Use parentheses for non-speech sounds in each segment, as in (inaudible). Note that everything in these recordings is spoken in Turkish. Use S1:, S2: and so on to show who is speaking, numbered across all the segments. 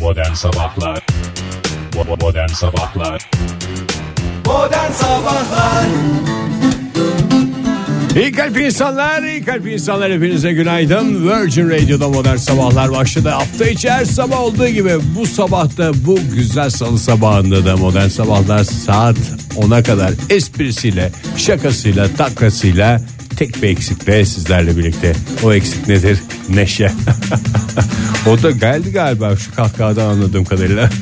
S1: Modern Sabahlar Bo- Modern Sabahlar
S2: Modern Sabahlar
S3: İyi kalp insanlar, iyi kalp insanlar hepinize günaydın. Virgin Radio'da modern sabahlar başladı. Hafta içi her sabah olduğu gibi bu sabah da bu güzel salı sabahında da modern sabahlar saat 10'a kadar esprisiyle, şakasıyla, taklasıyla tek bir eksikle sizlerle birlikte. O eksik nedir? Neşe. (laughs) o da geldi galiba şu kahkahadan anladığım kadarıyla. (laughs)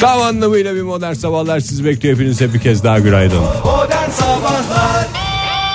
S3: Tam anlamıyla bir modern sabahlar sizi bekliyor. Hepinize bir kez daha günaydın.
S2: Modern Sabahlar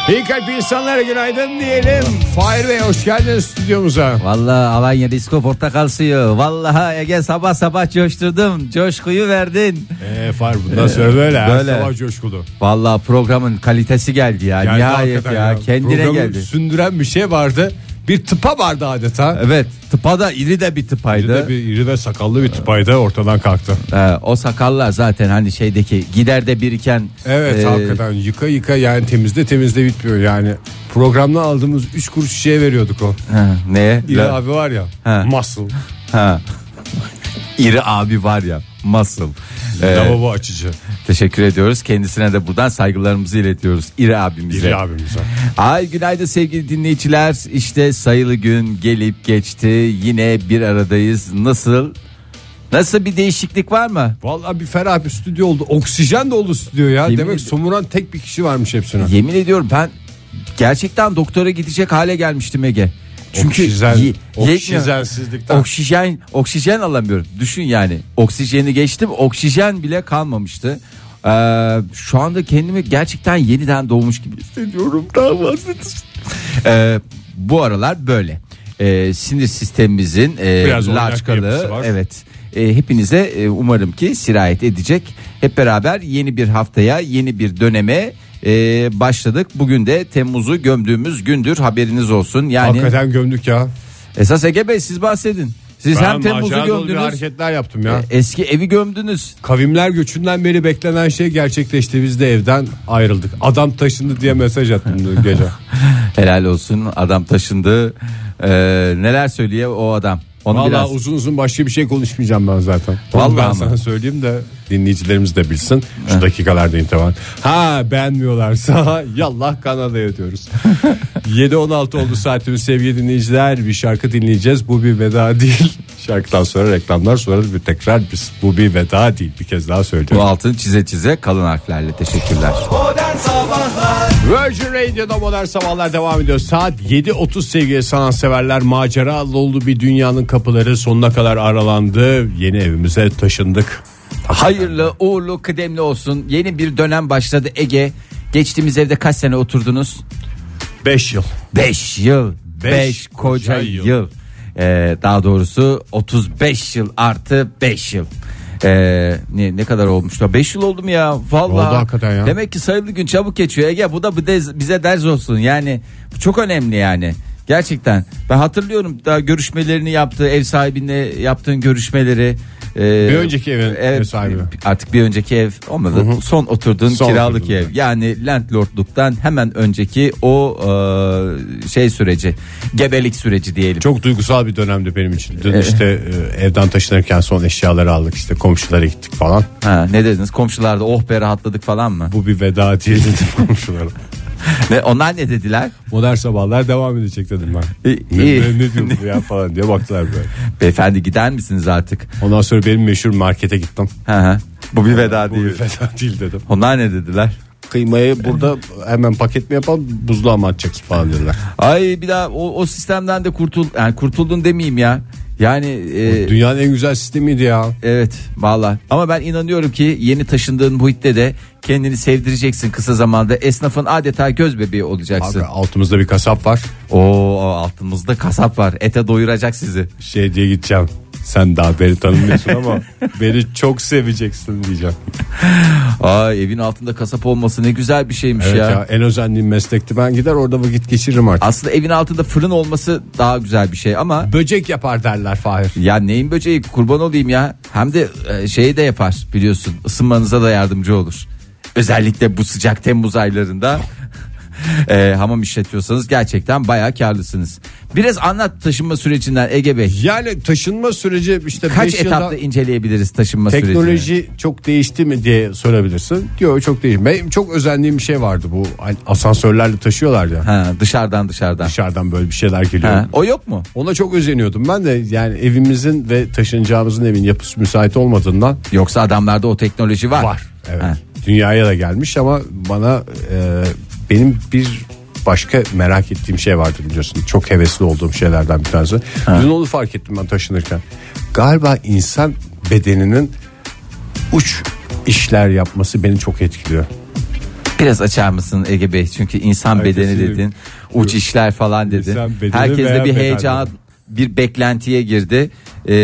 S3: İyi kalp insanlara günaydın diyelim. Fahir Bey hoş geldiniz stüdyomuza.
S4: Vallahi Alanya Disko Portakal Suyu. Vallahi Ege sabah sabah coşturdum. Coşkuyu verdin.
S3: Eee Ee, Fahir bundan sonra böyle. her
S4: Böyle.
S3: Sabah coşkulu.
S4: Vallahi programın kalitesi geldi ya.
S3: Geldi
S4: Nihayet ya.
S3: hakikaten ya.
S4: Kendine
S3: Programı
S4: geldi.
S3: sündüren bir şey vardı. Bir tıpa vardı adeta.
S4: Evet. Tıpa da iri de bir
S3: Bir de
S4: tıpaydı.
S3: bir iri ve sakallı bir tıpaydı ortadan kalktı.
S4: Ee, o sakallar zaten hani şeydeki gider de biriken.
S3: Evet
S4: e,
S3: hakikaten yıka yıka yani temizle temizle bitmiyor yani. Programdan aldığımız 3 kuruş şişeye veriyorduk o.
S4: ha, ne?
S3: İri
S4: La-
S3: abi var ya.
S4: Ha.
S3: Muscle.
S4: ha. İri abi var ya. Muscle. Ee,
S3: Lavabo açıcı.
S4: teşekkür ediyoruz. Kendisine de buradan saygılarımızı iletiyoruz. İri abimize.
S3: İri abimiz var.
S4: Ay günaydın sevgili dinleyiciler. İşte sayılı gün gelip geçti. Yine bir aradayız. Nasıl? Nasıl bir değişiklik var mı?
S3: Vallahi bir ferah bir stüdyo oldu. Oksijen dolu stüdyo ya.
S4: Yemin
S3: Demek
S4: ederim.
S3: somuran tek bir kişi varmış hepsine.
S4: Yemin ediyorum ben gerçekten doktora gidecek hale gelmiştim Ege. Çünkü
S3: Oksijen-
S4: ye- yetmiyor.
S3: oksijensizlikten.
S4: Oksijen, oksijen alamıyorum. Düşün yani. Oksijeni geçtim. Oksijen bile kalmamıştı. Ee, şu anda kendimi gerçekten yeniden doğmuş gibi hissediyorum. Daha bahsedeceğim. Ee, bu aralar böyle. Ee, sinir sistemimizin e,
S3: Biraz oynak bir yapısı
S4: laçkalığı.
S3: var.
S4: Evet. E, hepinize e, umarım ki sirayet edecek. Hep beraber yeni bir haftaya, yeni bir döneme e, başladık. Bugün de Temmuz'u gömdüğümüz gündür haberiniz olsun. Yani
S3: Hakikaten gömdük ya.
S4: esas Ege Bey siz bahsedin. Siz hem Temmuz'u
S3: macera dolu bir
S4: gömdünüz.
S3: hareketler yaptım ya.
S4: e, Eski evi gömdünüz. (laughs)
S3: Kavimler göçünden beri beklenen şey gerçekleşti. Biz de evden ayrıldık. Adam taşındı diye mesaj attım dün gece.
S4: Helal olsun adam taşındı. Ee, neler söylüyor o adam? Onu
S3: Vallahi
S4: biraz
S3: uzun uzun başka bir şey konuşmayacağım ben zaten. Onu
S4: Vallahi
S3: ben
S4: ama.
S3: sana söyleyeyim de dinleyicilerimiz de bilsin. Şu dakikalarda interval. Ha beğenmiyorlarsa (laughs) yallah Kanada'ya
S4: (laughs)
S3: diyoruz. 7.16 oldu saatimiz sevgili dinleyiciler. Bir şarkı dinleyeceğiz. Bu bir veda (laughs) değil. Şarkıdan sonra reklamlar sonra bir tekrar biz bu bir veda değil. Bir kez daha söylüyorum.
S4: bu altını çize çize kalın harflerle teşekkürler.
S2: Modern Sabahlar
S3: Virgin Radio'da modern sabahlar devam ediyor. Saat 7.30 sevgili sanatseverler macera dolu bir dünyanın kapıları sonuna kadar aralandı. Yeni evimize taşındık.
S4: Hayırlı, uğurlu, kıdemli olsun. Yeni bir dönem başladı Ege. Geçtiğimiz evde kaç sene oturdunuz?
S3: 5 yıl.
S4: 5 yıl.
S3: Beş
S4: 5 koca
S3: koca
S4: yıl.
S3: yıl.
S4: Ee, daha doğrusu 35 yıl artı 5 yıl. Ee, ne, ne kadar olmuştu? 5 yıl oldu mu ya? Vallahi.
S3: Oldu hakikaten ya.
S4: Demek ki sayılı gün çabuk geçiyor Ege. Bu da bu dez- bize ders olsun. Yani bu çok önemli yani. Gerçekten. Ben hatırlıyorum daha görüşmelerini yaptığı ev sahibinle yaptığın görüşmeleri. Ee,
S3: Bir önceki evin ev sahibi.
S4: Artık bir önceki ev olmadı. Son oturduğun
S3: Son
S4: kiralık
S3: oturduğun.
S4: ev. Yani landlordluktan hemen önceki o e, şey süreci, gebelik süreci diyelim.
S3: Çok duygusal bir dönemdi benim için. Dün işte e, evden taşınırken son eşyaları aldık. işte komşulara gittik falan.
S4: Ha, ne dediniz? Komşularda oh be rahatladık falan mı?
S3: Bu bir veda değil dedim (laughs) komşulara.
S4: Ne, onlar ne dediler?
S3: Modern sabahlar devam edecek dedim ben.
S4: İyi,
S3: ne,
S4: iyi.
S3: ne, ne diyor bu ya falan diye baktılar böyle.
S4: Beyefendi gider misiniz artık?
S3: Ondan sonra benim meşhur markete gittim.
S4: Ha, ha. Bu bir veda
S3: Bu
S4: değil.
S3: bir veda değil dedim.
S4: Onlar ne dediler?
S3: kıymayı burada hemen paket mi yapalım buzluğa mı atacağız falan dediler.
S4: Ay bir daha o, o sistemden de kurtul yani kurtuldun demeyeyim ya. Yani e,
S3: Dünyanın en güzel sistemiydi ya.
S4: Evet valla ama ben inanıyorum ki yeni taşındığın muhitte de kendini sevdireceksin kısa zamanda esnafın adeta göz bebeği olacaksın.
S3: Abi altımızda bir kasap var.
S4: Oo altımızda kasap var ete doyuracak sizi.
S3: Şey diye gideceğim. Sen daha beni tanımıyorsun (laughs) ama beni çok seveceksin diyeceğim.
S4: Aa evin altında kasap olması ne güzel bir şeymiş
S3: Evet
S4: ya.
S3: ya. en özendiğim meslekti. Ben gider orada vakit geçiririm artık.
S4: Aslında evin altında fırın olması daha güzel bir şey ama
S3: Böcek yapar derler Fahir.
S4: ya neyin böceği kurban olayım ya. Hem de e, şeyi de yapar biliyorsun ısınmanıza da yardımcı olur. Özellikle bu sıcak Temmuz aylarında (laughs) e, hamam işletiyorsanız gerçekten bayağı karlısınız. Biraz anlat taşınma sürecinden Ege Bey.
S3: Yani taşınma süreci işte
S4: Kaç
S3: beş yılda-
S4: etapta inceleyebiliriz taşınma sürecini?
S3: Teknoloji çok değişti mi diye sorabilirsin. Diyor çok değişti. Benim çok özendiğim bir şey vardı bu. Hani Asansörlerle taşıyorlar ya.
S4: Ha, dışarıdan dışarıdan.
S3: Dışarıdan böyle bir şeyler geliyor.
S4: Ha, o yok mu?
S3: Ona çok özeniyordum. Ben de yani evimizin ve taşınacağımızın evin yapısı müsait olmadığından
S4: Yoksa adamlarda o teknoloji
S3: (laughs)
S4: var.
S3: var. Evet.
S4: Ha.
S3: Dünyaya da gelmiş ama bana e, benim bir başka merak ettiğim şey vardı biliyorsun. Çok hevesli olduğum şeylerden bir tanesi. Dün onu fark ettim ben taşınırken. Galiba insan bedeninin uç işler yapması beni çok etkiliyor.
S4: Biraz açar mısın Ege Bey? Çünkü insan bedeni
S3: Herkesin-
S4: dedin, uç işler falan dedin.
S3: İnsan bedeni
S4: Herkes de
S3: veya
S4: bir
S3: beden
S4: heyecan,
S3: dedi.
S4: bir beklentiye girdi. Ee,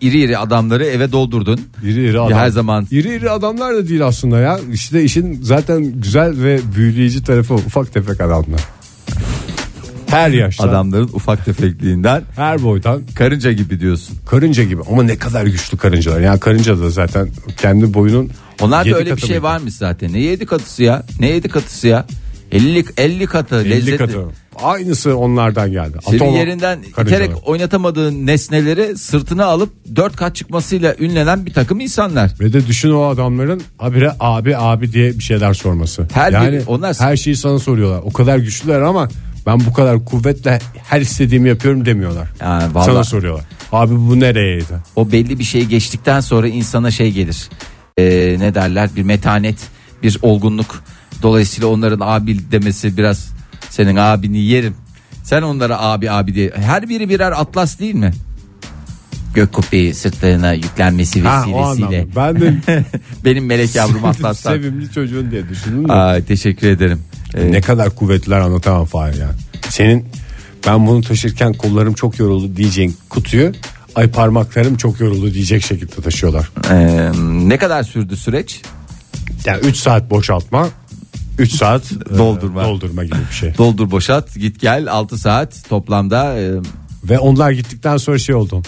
S4: iri iri adamları eve doldurdun.
S3: İri iri
S4: Ya
S3: adam.
S4: Her zaman
S3: İri iri adamlar da değil aslında ya. İşte işin zaten güzel ve büyüleyici tarafı ufak tefek adamlar. Her yaştan,
S4: adamların ufak tefekliğinden
S3: her boydan
S4: karınca gibi diyorsun.
S3: Karınca gibi ama ne kadar güçlü karıncalar. Yani karınca da zaten kendi boyunun
S4: Onlar da
S3: yedi
S4: öyle bir
S3: katı
S4: şey
S3: mıydı?
S4: varmış zaten. Ne yedi katısı ya? Ne yedi katısı ya? 50 50 katı
S3: 50
S4: lezzetli.
S3: katı. Aynısı onlardan geldi.
S4: Senin
S3: Atom
S4: yerinden
S3: karıncalar.
S4: iterek oynatamadığın nesneleri sırtına alıp dört kat çıkmasıyla ünlenen bir takım insanlar.
S3: Ve de düşün o adamların habire abi abi diye bir şeyler sorması.
S4: Her
S3: yani
S4: biri- onlar-
S3: her şeyi sana soruyorlar. O kadar güçlüler ama ben bu kadar kuvvetle her istediğimi yapıyorum demiyorlar.
S4: Yani vallahi-
S3: Sana soruyorlar. Abi bu nereyeydi?
S4: o belli bir şey geçtikten sonra insana şey gelir. Ee, ne derler bir metanet bir olgunluk dolayısıyla onların abi demesi biraz senin abini yerim. Sen onlara abi abi diye her biri birer atlas değil mi? Gök kubbeyi sırtlarına yüklenmesi
S3: Ha, o
S4: vesilesiyle.
S3: anlamda. Ben de
S4: Benim
S3: (laughs)
S4: melek (laughs) yavrum atlaslar.
S3: sevimli çocuğun diye düşündüm. de.
S4: Aa, teşekkür ederim. Ee,
S3: Ne kadar kuvvetliler anlatamam Fahir ya. Senin ben bunu taşırken kollarım çok yoruldu diyeceğin kutuyu ay parmaklarım çok yoruldu diyecek şekilde taşıyorlar.
S4: e, ne kadar sürdü süreç?
S3: Yani 3 saat boşaltma 3 saat e,
S4: Doldurma.
S3: doldurma gibi bir şey.
S4: Doldur boşalt git gel 6 saat toplamda e,
S3: Ve onlar gittikten sonra şey oldum.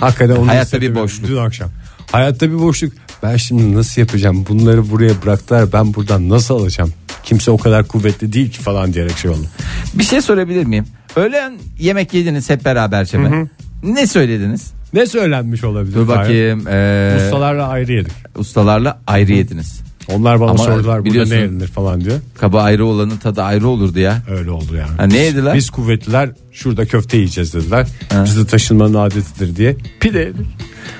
S3: Hakikaten onu
S4: Hayatta
S3: hissettim
S4: bir boşluk.
S3: Dün akşam. Hayatta bir boşluk. Ben şimdi nasıl yapacağım? Bunları buraya bıraktılar. Ben buradan nasıl alacağım? Kimse o kadar kuvvetli değil ki falan diyerek şey oldu.
S4: Bir şey sorabilir miyim? Öğlen yemek yediniz hep beraber Şeme. Ne söylediniz?
S3: Ne söylenmiş olabilir?
S4: Dur
S3: Fahir?
S4: bakayım. ee,
S3: Ustalarla ayrı yedik.
S4: ustalarla ayrı yediniz.
S3: Onlar bana
S4: Ama
S3: sordular burada
S4: biliyorsun-
S3: ne yenilir falan diyor.
S4: Kaba ayrı olanın tadı ayrı olurdu ya.
S3: Öyle oldu yani.
S4: Ha, ne yediler?
S3: Biz kuvvetliler şurada köfte yiyeceğiz dediler. Bizde taşınmanın adetidir diye. Pide yedik.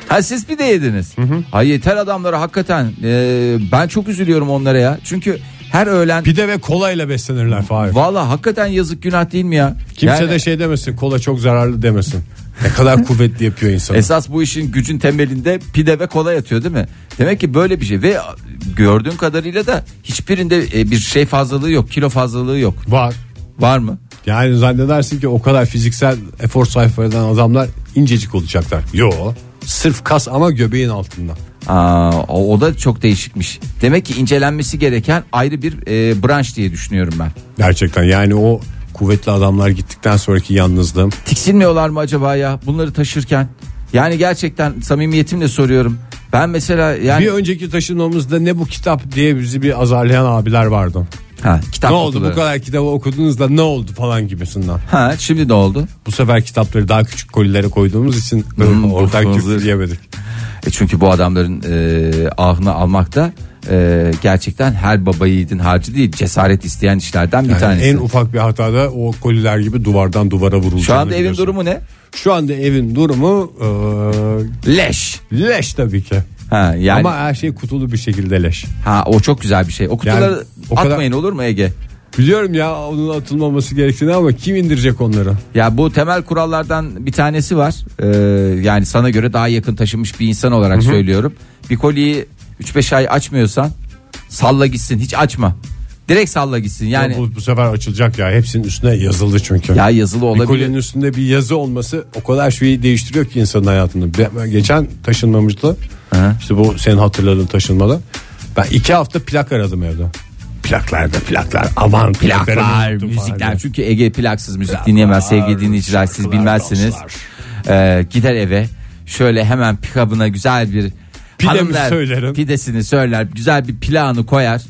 S4: Ha siz bir de yediniz. Ha yeter adamlara hakikaten. Ee, ben çok üzülüyorum onlara ya. Çünkü her öğlen
S3: Pide ve kolayla beslenirler Fahir.
S4: valla hakikaten yazık günah değil mi ya?
S3: Kimse
S4: Yani
S3: de şey demesin kola çok zararlı demesin. Ne kadar kuvvetli yapıyor insanı.
S4: Esas bu işin gücün temelinde pide ve kola yatıyor değil mi? Demek ki böyle bir şey ve gördüğüm kadarıyla da hiçbirinde e, bir şey fazlalığı yok, kilo fazlalığı yok.
S3: Var.
S4: Var mı?
S3: Yani zannedersin ki o kadar fiziksel efor sarf eden adamlar incecik olacaklar. Yo. Sırf kas ama göbeğin altında.
S4: Aa, o, o da çok değişikmiş. Demek ki incelenmesi gereken ayrı bir e, branş diye düşünüyorum ben.
S3: Gerçekten yani o kuvvetli adamlar gittikten sonraki yalnızlığım.
S4: Tiksinmiyorlar mı acaba ya bunları taşırken? Yani gerçekten samimiyetimle soruyorum. Ben mesela yani
S3: Bir önceki taşınmamızda ne bu kitap diye bizi bir azarlayan abiler vardı.
S4: ha, kitap
S3: ne oldu
S4: kutuları.
S3: bu kadar kitabı okudunuz da ne oldu falan gibisinden.
S4: Ha, şimdi ne oldu?
S3: Bu sefer kitapları daha küçük kolilere koyduğumuz için
S4: Hmm,
S3: oradan
S4: boşluğunuzu-
S3: küfür yemedik.
S4: E çünkü bu adamların e, ahını almak da e, gerçekten her baba yiğidin harcı değil cesaret isteyen işlerden bir
S3: Yani
S4: tanesi.
S3: en ufak bir hatada o koliler gibi duvardan duvara vurulacağını
S4: Şu anda evin
S3: biliyorsun.
S4: durumu ne?
S3: Şu anda evin durumu
S4: Leş.
S3: eee, leş tabii ki.
S4: Ha, yani
S3: Ama her şey kutulu bir şekilde leş.
S4: ha, o çok güzel bir şey. O kutuları
S3: Yani o kadar-
S4: atmayın olur mu Ege?
S3: Biliyorum ya onun atılmaması gerektiğini ama kim indirecek onları?
S4: Ya bu temel kurallardan bir tanesi var. Ee, yani sana göre daha yakın taşınmış bir insan olarak söylüyorum. Bir kolyeyi 3-5 ay açmıyorsan salla gitsin hiç açma. Direkt salla gitsin yani. Ya,
S3: bu, bu sefer açılacak ya. Hepsinin üstüne yazıldı çünkü.
S4: yazılı
S3: Bir kolyenin
S4: olabilir.
S3: üstünde bir yazı olması o kadar şeyi değiştiriyor ki insanın hayatını. Ben geçen taşınmamıştı. İşte bu senin hatırladığın taşınmada. Ben iki hafta plak aradım evde. Plaklar da plaklar. Aman
S4: Plaklar,
S3: plakları unuttum falan.
S4: müzikler. Ee, Çünkü Ege plaksız müzik dinleyemez sevgili dinleyiciler siz
S3: şarkılar,
S4: bilmezsiniz. Ee, gider eve şöyle hemen pikabına güzel bir
S3: Pide mi
S4: hanımlar
S3: söylerim?
S4: pidesini söyler güzel bir planı koyar.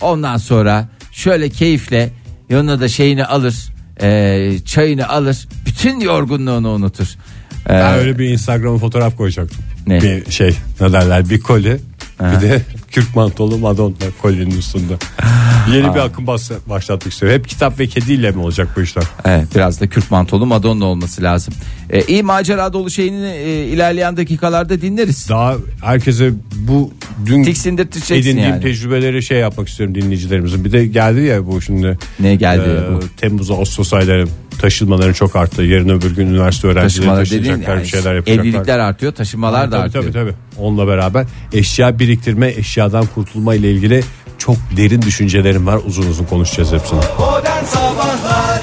S4: Ondan sonra şöyle keyifle yanına da şeyini alır e, çayını alır bütün yorgunluğunu unutur. E,
S3: Ben öyle bir Instagram'a fotoğraf koyacaktım.
S4: Ne?
S3: Bir şey ne derler bir koli bir de (laughs) Kürk mantolu Madonna kolyenin üstünde. Yeni bir akım bas- başlattık işte. Hep kitap ve kediyle mi olacak bu işler?
S4: Evet, biraz da Kürt mantolu Madonna olması lazım. E, iyi macera dolu şeyini e, ilerleyen dakikalarda dinleriz.
S3: Daha herkese bu dün
S4: Tiksindirteceksin
S3: edindiğim
S4: yani.
S3: tecrübeleri şey yapmak istiyorum dinleyicilerimizin. Bir de geldi ya bu şimdi. e,
S4: Ne geldi ya bu?
S3: Temmuz Ağustos ayları taşınmaların çok arttı. Yarın öbür gün üniversite öğrencileri
S4: Taşımalar dediğin
S3: taşınacaklar
S4: yani,
S3: bir şeyler yapacaklar.
S4: evlilikler artıyor taşımalar da
S3: tabii,
S4: artıyor.
S3: tabii tabii. Onunla beraber eşya biriktirme, eşyadan kurtulma ile ilgili çok derin düşüncelerim var. Uzun uzun konuşacağız hepsini.
S2: Modern Sabahlar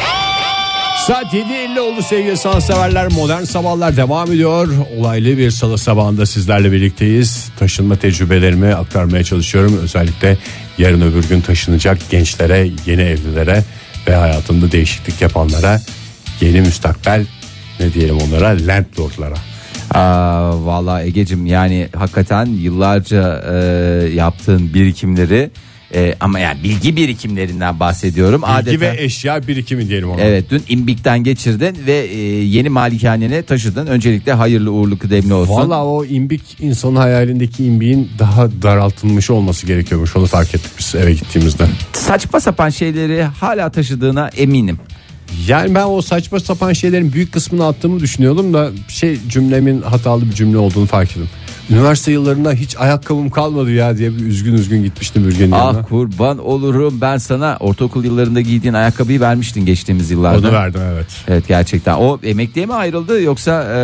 S5: Saat 7.50 oldu sevgili sanatseverler. Modern Sabahlar devam ediyor. Olaylı bir salı sabahında sizlerle birlikteyiz.
S3: Taşınma tecrübelerimi aktarmaya çalışıyorum. Özellikle yarın öbür gün taşınacak gençlere, yeni evlilere ve hayatında değişiklik yapanlara, yeni müstakbel ne diyelim onlara landlordlara.
S4: Aa, vallahi Ege'cim yani hakikaten yıllarca e, yaptığın birikimleri e, ama yani bilgi birikimlerinden bahsediyorum.
S3: Bilgi
S4: Adeta,
S3: ve eşya birikimi diyelim ona.
S4: Evet dün imbikten geçirdin ve e, yeni malikanene taşıdın. Öncelikle hayırlı uğurlu kıdemli olsun.
S3: Valla o imbik insanın hayalindeki imbiğin daha daraltılmış olması gerekiyormuş. Onu fark ettik biz eve gittiğimizde.
S4: Saçma sapan şeyleri hala taşıdığına eminim.
S3: Yani ben o saçma sapan şeylerin büyük kısmını attığımı düşünüyordum da şey cümlemin hatalı bir cümle olduğunu fark ettim. Üniversite yıllarında hiç ayakkabım kalmadı ya diye bir üzgün üzgün gitmiştim Bürgen'in yanına.
S4: Ah kurban olurum ben sana ortaokul yıllarında giydiğin ayakkabıyı vermiştin geçtiğimiz yıllarda.
S3: Onu verdim evet.
S4: Evet gerçekten. O emekliye mi ayrıldı yoksa e,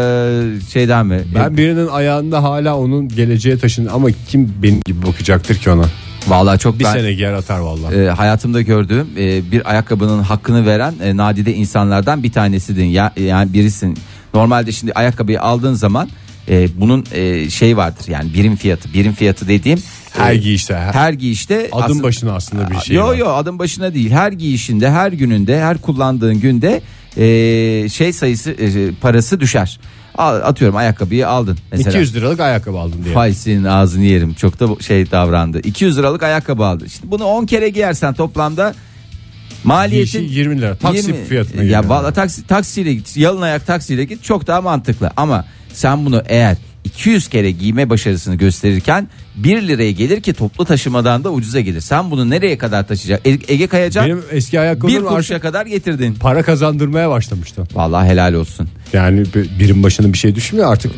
S4: şeyden mi?
S3: Ben birinin ayağında hala onun geleceğe taşın ama kim benim gibi bakacaktır ki ona?
S4: Vallahi çok
S3: Bir
S4: ben
S3: sene giyer atar vallahi.
S4: e, hayatımda gördüğüm e, bir ayakkabının hakkını veren e, nadide insanlardan bir tanesidin. Ya, yani birisin. Normalde şimdi ayakkabıyı aldığın zaman e, bunun e, şey vardır yani birim fiyatı. Birim fiyatı dediğim
S3: Her
S4: e,
S3: giyişte her,
S4: her giyişte
S3: adım
S4: aslında-
S3: başına aslında bir şey.
S4: yo
S3: var.
S4: yo adım başına değil. Her giyişinde, her gününde, her kullandığın günde e, şey sayısı e, parası düşer. Al- Atıyorum ayakkabıyı aldın mesela.
S3: 200 liralık ayakkabı aldım diye.
S4: Fay senin ağzını yerim. Çok da bu- şey davrandı. 200 liralık ayakkabı aldı. Şimdi bunu 10 kere giyersen toplamda maliyetin
S3: Giyişi 20 lira. Taksit
S4: 20
S3: fiyatına
S4: Ya
S3: geliyor.
S4: valla taksi taksiyle git. Yalın ayak taksiyle git çok daha mantıklı. Ama sen bunu eğer 200 kere giyme başarısını gösterirken 1 liraya gelir ki toplu taşımadan da ucuza gelir. Sen bunu nereye kadar taşıyacak? E- Ege Kayacan
S3: Benim eski
S4: bir
S3: ayakkabılarım
S4: kuruşa
S3: artık
S4: kadar getirdin.
S3: para kazandırmaya başlamıştı.
S4: Vallahi helal olsun.
S3: Yani bir- birim başına bir şey düşmüyor artık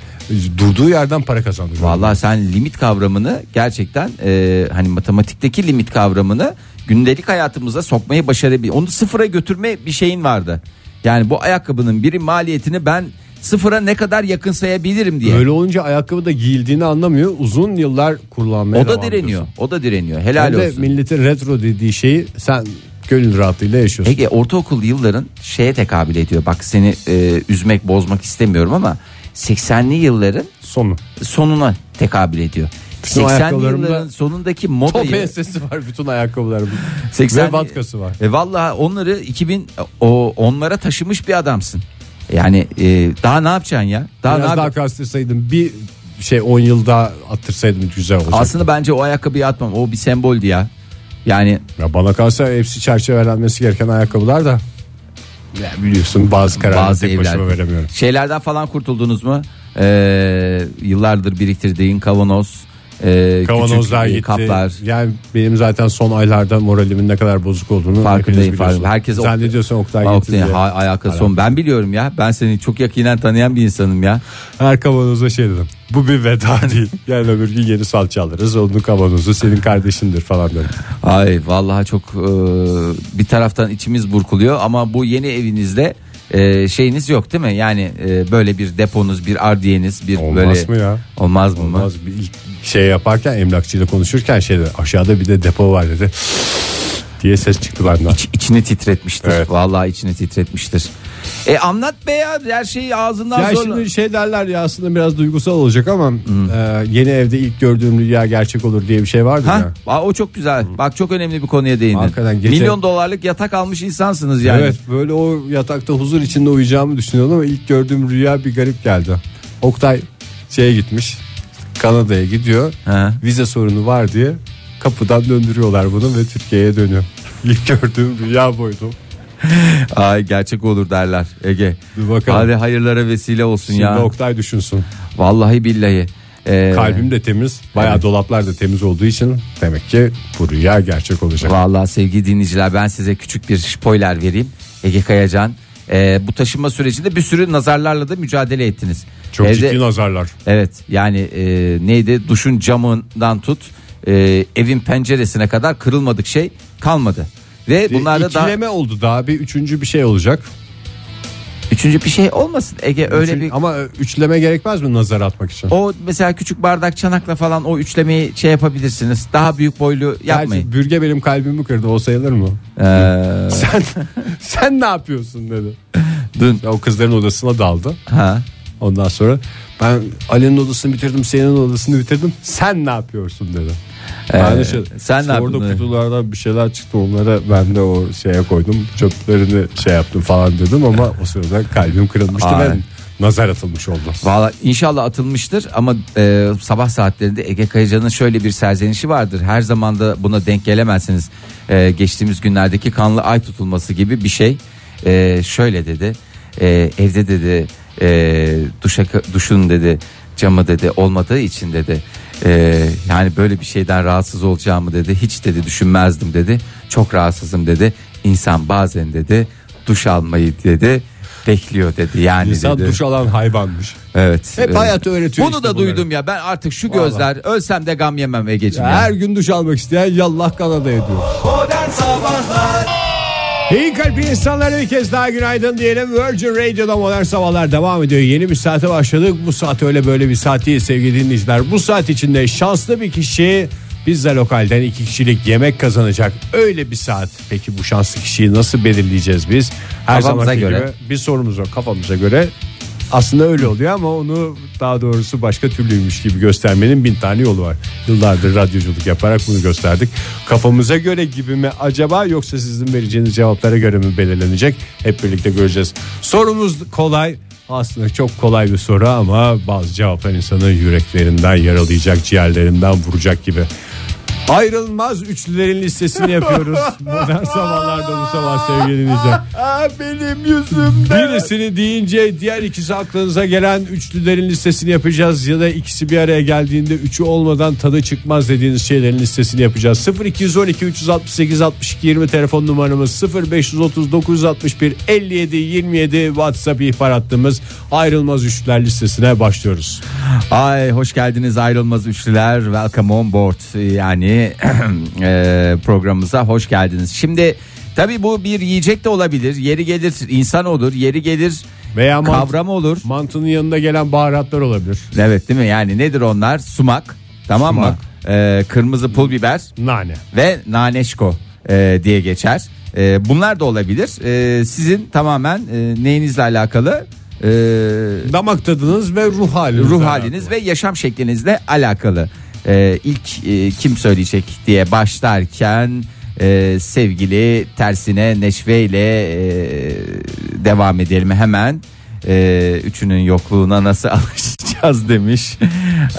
S3: durduğu yerden para kazandırıyor.
S4: Vallahi sen limit kavramını gerçekten e, hani matematikteki limit kavramını gündelik hayatımıza sokmayı başarabilir. Onu sıfıra götürme bir şeyin vardı. Yani bu ayakkabının biri maliyetini ben sıfıra ne kadar yakın sayabilirim diye.
S3: Öyle olunca ayakkabı da giyildiğini anlamıyor. Uzun yıllar kullanmaya
S4: o da
S3: devam
S4: direniyor.
S3: ediyorsun.
S4: O da direniyor. Helal
S3: Hem de
S4: olsun.
S3: milletin retro dediği şeyi sen gönül rahatlığıyla yaşıyorsun.
S4: Ege ortaokul yılların şeye tekabül ediyor. Bak seni e, üzmek bozmak istemiyorum ama 80'li yılların
S3: Sonu.
S4: sonuna tekabül ediyor.
S3: Bütün
S4: 80'li
S3: ayakkabılarımda
S4: yılların sonundaki moda
S3: Top ensesi var bütün ayakkabılarımın.
S4: 80
S3: Ve vatkası var.
S4: E vallahi onları 2000 o onlara taşımış bir adamsın. Yani e, daha ne yapacaksın ya? Daha ne
S3: Biraz daha
S4: yap-
S3: kastırsaydım bir şey 10 yıl daha attırsaydım güzel olacaktı.
S4: Aslında bence o ayakkabıyı atmam. O bir semboldü ya. Yani
S3: Ya bana kalsa hepsi çerçevelenmesi gereken ayakkabılar da. Ya biliyorsun bazı kararları
S4: bazı
S3: tek başıma
S4: evler.
S3: veremiyorum.
S4: Şeylerden falan kurtuldunuz mu? Ee, yıllardır biriktirdiğin kavanoz, e,
S3: Kavanozlar
S4: küçük, e,
S3: gitti.
S4: kaplar.
S3: Yani benim zaten son aylarda moralimin ne kadar bozuk olduğunu
S4: Farkındayım,
S3: hepiniz biliyorsunuz.
S4: farkındayım. Herkes
S3: Sen ne diyorsun Oktay gitti
S4: Oktay,
S3: diye.
S4: ha, alakası son. Ben biliyorum ya. Ben seni çok yakinen tanıyan bir insanım ya.
S3: Her kavanoza şey dedim. Bu bir veda değil. Yarın öbür gün yeni salça alırız. Onun kavanozu senin kardeşindir falan dedim.
S4: Ay vallahi çok e, bir taraftan içimiz burkuluyor ama bu yeni evinizde e, şeyiniz yok değil mi? Yani e, böyle bir deponuz, bir ardiyeniz, bir
S3: Olmaz
S4: böyle
S3: mı ya?
S4: Olmaz mı?
S3: Olmaz bir ilk şey yaparken emlakçıyla konuşurken şey dedi. Aşağıda bir de depo var dedi. diye ses çıktı benden.
S4: İç- içini titretmiştir.
S3: Evet.
S4: Vallahi içini titretmiştir. E anlat be ya her şeyi ağzından
S3: Ya
S4: zor.
S3: şimdi şey derler ya aslında biraz duygusal olacak ama
S4: Hmm.
S3: e, yeni evde ilk gördüğüm rüya gerçek olur diye bir şey vardı
S4: Ha?
S3: ya.
S4: Aa, o çok güzel. Bak çok önemli bir konuya değindin.
S3: Hakikaten gece-
S4: Milyon dolarlık yatak almış insansınız yani.
S3: Evet böyle o yatakta huzur içinde uyuyacağımı düşünüyordum ama ilk gördüğüm rüya bir garip geldi. Oktay şeye gitmiş Kanada'ya gidiyor
S4: Ha.
S3: vize sorunu var diye kapıdan döndürüyorlar bunu ve Türkiye'ye dönüyor. (laughs)
S6: İlk gördüğüm rüya buydu.
S4: Ay gerçek olur derler Ege.
S6: Dur bakalım.
S4: Hadi hayırlara vesile olsun
S6: Şimdi
S4: ya.
S6: Oktay düşünsün.
S4: Vallahi billahi. Ee,
S6: Kalbim de temiz. Bayağı
S4: Evet.
S6: dolaplar da temiz olduğu için demek ki bu rüya gerçek olacak.
S4: Vallahi sevgili dinleyiciler ben size küçük bir spoiler vereyim. Ege Kayacan e, bu taşınma sürecinde bir sürü nazarlarla da mücadele ettiniz.
S6: Çok
S4: Evde-
S6: ciddi nazarlar.
S4: Evet yani e, neydi duşun camından tut e, evin penceresine kadar kırılmadık şey kalmadı.
S6: E,
S4: Ve bunlarda
S6: Bunlarda
S4: daha
S6: İkileme oldu daha bir üçüncü bir şey olacak.
S4: üçüncü bir şey olmasın Ege öyle
S6: Üçün-
S4: bir
S6: Ama üçleme gerekmez mi nazar atmak için?
S4: o mesela küçük bardak çanakla falan o üçlemeyi şey yapabilirsiniz. Daha büyük boylu yapmayın.
S6: Gerçi bürge benim kalbimi kırdı o sayılır mı?
S4: Ee,
S6: Sen (laughs) sen ne yapıyorsun dedi.
S4: E, dün
S6: Ya o kızların odasına daldı.
S4: ha
S6: Ondan sonra ben Ali'nin odasını bitirdim, senin odasını bitirdim. Sen ne yapıyorsun dedi. Ben de şey-
S4: Ee, sen ne
S6: işte orada
S4: yaptın?
S6: kutulardan bir şeyler çıktı onlara ben de o şeye koydum çöplerini şey yaptım falan dedim ama o sırada kalbim kırılmıştı
S4: Ay.
S6: ve nazar atılmış oldu.
S4: Valla inşallah atılmıştır ama e, sabah saatlerinde Ege Kayacan'ın şöyle bir serzenişi vardır. Her zaman da buna denk gelemezsiniz. E, geçtiğimiz günlerdeki kanlı ay tutulması gibi bir şey. E, şöyle dedi. E, evde dedi e, duşa, duşun dedi camı dedi olmadığı için dedi. e, yani böyle bir şeyden rahatsız olacağımı dedi. Hiç dedi düşünmezdim dedi. Çok rahatsızım dedi. İnsan bazen dedi duş almayı dedi bekliyor dedi yani
S6: İnsan
S4: dedi.
S6: duş alan hayvanmış.
S4: Evet.
S6: Hep
S4: Evet.
S6: hayatı öğretiyor
S4: Bunu
S6: işte
S4: da
S6: bunları.
S4: duydum ya. Ben artık şu gözler ölsem de gam yemem Ege'cim. ya.
S6: Her gün duş almak isteyen yallah Kanada ediyor.
S7: Modern Sabahlar
S3: İyi kalp insanlara bir kez daha günaydın diyelim. Virgin Radio'da modern sabahlar devam ediyor. Yeni bir saate başladık. Bu saat öyle böyle bir saat değil sevgili dinleyiciler. Bu saat içinde şanslı bir kişi pizza lokalden iki kişilik yemek kazanacak. Öyle bir saat. Peki bu şanslı kişiyi nasıl belirleyeceğiz biz? Her
S4: Kafamıza
S3: zamanki
S4: göre.
S3: gibi bir sorumuz var kafamıza göre. Aslında öyle oluyor ama onu daha doğrusu başka türlüymüş gibi göstermenin bin tane yolu var. Yıllardır radyoculuk yaparak bunu gösterdik. Kafamıza göre gibi mi acaba yoksa sizin vereceğiniz cevaplara göre mi belirlenecek? Hep birlikte göreceğiz. Sorumuz kolay. Aslında çok kolay bir soru ama bazı cevaplar insanı yüreklerinden yaralayacak, ciğerlerinden vuracak gibi. Ayrılmaz üçlülerin listesini yapıyoruz. Modern sabahlarda bu sabah sevgili dinleyiciler.
S6: benim yüzümde.
S3: Birisini deyince diğer ikisi aklınıza gelen üçlülerin listesini yapacağız ya da ikisi bir araya geldiğinde üçü olmadan tadı çıkmaz dediğiniz şeylerin listesini yapacağız. 0212 368 62 20 telefon numaramız 0530 961 57 27 WhatsApp ihbar hattımız ayrılmaz üçlüler listesine başlıyoruz.
S4: Ay hoş geldiniz ayrılmaz üçlüler. Welcome on board. Yani (clears throat) eee, programımıza hoş geldiniz. Şimdi tabii bu bir yiyecek de olabilir. Yeri gelir insan olur. Yeri gelir
S3: Veya mant-
S4: kavram olur.
S3: mantının yanında gelen baharatlar olabilir.
S4: Evet değil mi? Yani nedir onlar? Sumak. Tamam mı? Eee, kırmızı pul biber.
S3: Nane.
S4: ve Naneşko e, diye geçer. E, bunlar da olabilir. E, sizin tamamen e, neyinizle alakalı? E,
S3: Damak tadınız ve ruh haliniz.
S4: ruh haliniz ve yaşam şeklinizle alakalı. E, ilk e, kim söyleyecek diye başlarken e, sevgili tersine Neşve ile e, devam edelim hemen. E, üçünün yokluğuna nasıl (laughs) alışacağız demiş.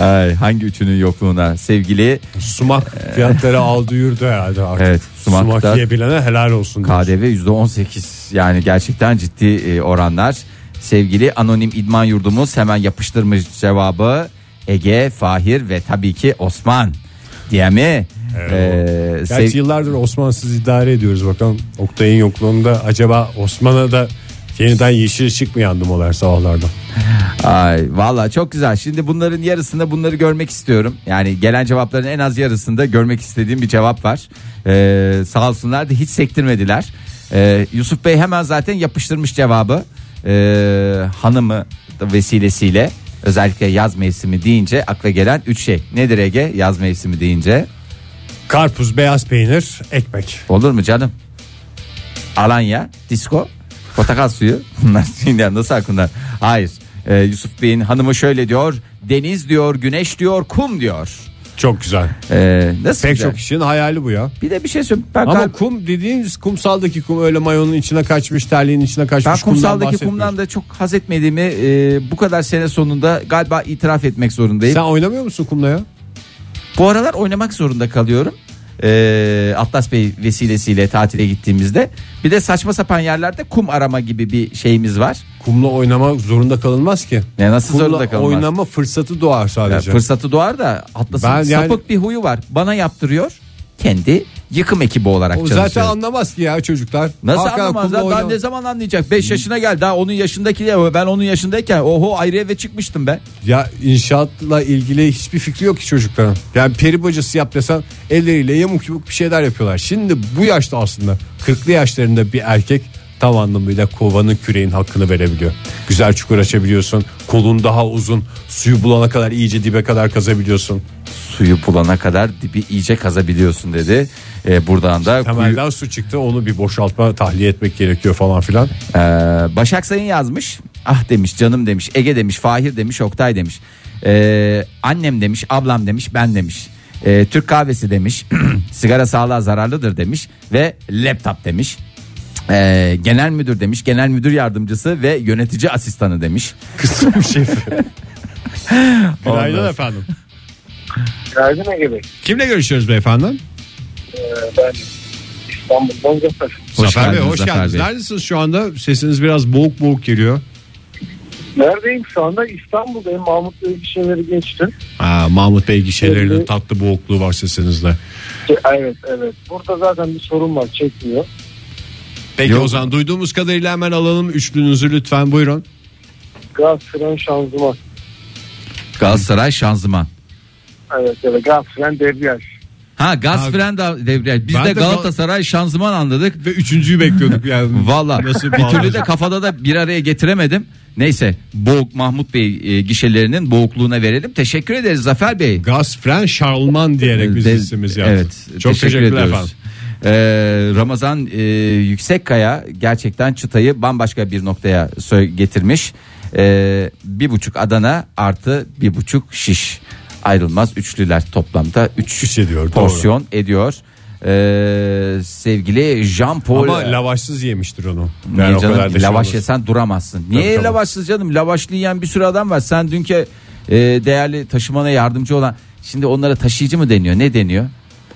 S4: Ay, hangi üçünün yokluğuna sevgili
S3: Sumak fiyatları aldı yürüdü herhalde artık.
S4: Evet,
S3: sumak,
S4: sumak da-
S3: yiyebilene helal olsun. diyoruz.
S4: KDV %18 yani gerçekten ciddi e, oranlar. Sevgili anonim idman yurdumuz hemen yapıştırmış cevabı Ege, Fahir ve tabii ki Osman diye mi? Ee,
S3: Gerçi
S4: sev-
S3: yıllardır Osmansız idare ediyoruz bakalım. Oktay'ın yokluğunda acaba Osman'a da yeniden yeşil ışık mı yandı molar sabahlarda?
S4: Ay valla çok güzel. Şimdi bunların yarısında bunları görmek istiyorum. Yani gelen cevapların en az yarısında görmek istediğim bir cevap var. Ee, sağ olsunlar da hiç sektirmediler. Ee, Yusuf Bey hemen zaten yapıştırmış cevabı. Ee, hanımı da vesilesiyle özellikle yaz mevsimi deyince akla gelen üç şey. Nedir Ege yaz mevsimi deyince?
S3: Karpuz, beyaz peynir, ekmek.
S4: Olur mu canım? Alanya, disco, portakal suyu. (laughs) Bunlar şimdi nasıl aklında? Hayır. Ee, Yusuf Bey'in hanımı şöyle diyor. Deniz diyor, güneş diyor, kum diyor.
S3: Çok güzel.
S4: Ee, nasıl
S3: Pek
S4: güzel?
S3: çok kişinin hayali bu ya.
S4: Bir de bir şey söyleyeyim. Ben,
S3: Ama
S4: kalp-
S3: kum dediğiniz kumsaldaki kum öyle mayonun içine kaçmış, terliğin içine kaçmış
S4: ben
S3: kumdan
S4: kumsaldaki
S3: bahsetmiyorum.
S4: kumdan da çok haz etmediğimi e, bu kadar sene sonunda galiba itiraf etmek zorundayım.
S3: Sen oynamıyor musun kumla ya?
S4: Bu aralar oynamak zorunda kalıyorum. e, Atlas Bey vesilesiyle tatile gittiğimizde. Bir de saçma sapan yerlerde kum arama gibi bir şeyimiz var.
S3: Kumla oynamak zorunda kalınmaz ki.
S4: Ya nasıl
S3: Kumla
S4: zorunda kalınmaz?
S3: oynama fırsatı doğar
S4: Ya
S3: sadece.
S4: fırsatı doğar da Atlas'ın
S3: Ben yani-
S4: sapık bir huyu var. Bana yaptırıyor. Kendi yıkım ekibi olarak
S3: o
S4: çalışıyor.
S3: zaten anlamaz ki ya çocuklar.
S4: Nasıl
S3: Hakikaten
S4: anlamaz
S3: kumla
S4: lan? Daha
S3: oynama-
S4: ne zaman anlayacak? 5 yaşına gel. Daha onun yaşındaki de ben onun yaşındayken oho ayrı eve çıkmıştım ben.
S3: Ya inşaatla ilgili hiçbir fikri yok ki çocukların. Yani peri bacası yap desem elleriyle yamuk yumuk bir şeyler yapıyorlar. Şimdi bu yaşta aslında 40'lı yaşlarında bir erkek tam anlamıyla kovanın küreğin hakkını verebiliyor. Güzel çukur açabiliyorsun. Kolun daha uzun. Suyu bulana kadar iyice dibe kadar kazabiliyorsun.
S4: Suyu bulana kadar dibi iyice kazabiliyorsun dedi. Ee, buradan da kuyu-
S3: Temelden su çıktı onu bir boşaltma tahliye etmek gerekiyor falan (laughs) filan.
S4: Ee, Başak Sayın yazmış. Ah demiş canım demiş Ege demiş Fahir demiş Oktay demiş. Ee, annem demiş ablam demiş ben demiş. Ee, Türk kahvesi demiş. (clears throat) Sigara sağlığa zararlıdır demiş. Ve laptop demiş. Ee, genel müdür demiş. Genel müdür yardımcısı ve yönetici asistanı demiş.
S3: Kısım (laughs) şefi. şey. Günaydın
S4: Ondan-
S3: efendim.
S8: Günaydın Ege Bey.
S3: Kimle görüşüyoruz beyefendi?
S8: Ee, ben İstanbul'dan Gazetaş'ım.
S4: Hoş
S3: Zafer Bey
S4: geldiniz
S3: hoş
S4: Zafer
S3: geldiniz.
S4: Bey.
S3: Neredesiniz şu anda? Sesiniz biraz boğuk boğuk geliyor.
S8: Neredeyim şu anda? İstanbul'dayım. Mahmut Bey bir şeyleri geçtim.
S3: Ha, Mahmut Bey gişelerinin
S8: Evet.
S3: tatlı boğukluğu var sesinizde.
S8: Ee, Evet evet. Burada zaten bir sorun var. Çekmiyor.
S3: Peki
S4: Yok.
S3: o zaman duyduğumuz kadarıyla hemen alalım üçlünüzü lütfen buyurun.
S8: Gaz fren şanzıman.
S4: Galatasaray şanzıman.
S8: Evet evet. Gaz fren debriyaj.
S4: Ha gaz
S3: Ha,
S4: fren da devreye. Biz
S3: ben
S4: de
S3: de Gal-
S4: Galatasaray şanzıman anladık.
S3: Ve üçüncüyü (laughs) bekliyorduk yani.
S4: Valla
S3: Nasıl
S4: bir türlü de kafada da bir araya getiremedim. Neyse boğuk Mahmut Bey e, gişelerinin boğukluğuna verelim. Teşekkür ederiz Zafer Bey. E,
S3: Gaz fren şarlman diyerek biz
S4: De-
S3: ismimiz yaptık.
S4: Evet,
S3: Çok
S4: teşekkür
S3: teşekkürler
S4: ediyoruz.
S3: efendim.
S4: Ee, Ramazan e, Yüksekkaya gerçekten çıtayı bambaşka bir noktaya sö- getirmiş. Ee, bir buçuk Adana artı bir buçuk şiş ayrılmaz üçlüler toplamda üç
S3: Şiş ediyor, doğru.
S4: porsiyon ediyor. Ee, sevgili Jean Paul
S3: Ama lavaşsız yemiştir onu.
S4: Niye
S3: Yani o
S4: canım?
S3: kadar da şey
S4: lavaş
S3: olmaz.
S4: yesen duramazsın. Niye
S3: tabii.
S4: lavaşsız canım? Lavaşlı yiyen bir sürü adam var. Sen dünkü e, değerli taşımana yardımcı olan şimdi onlara taşıyıcı mı deniyor? Ne deniyor?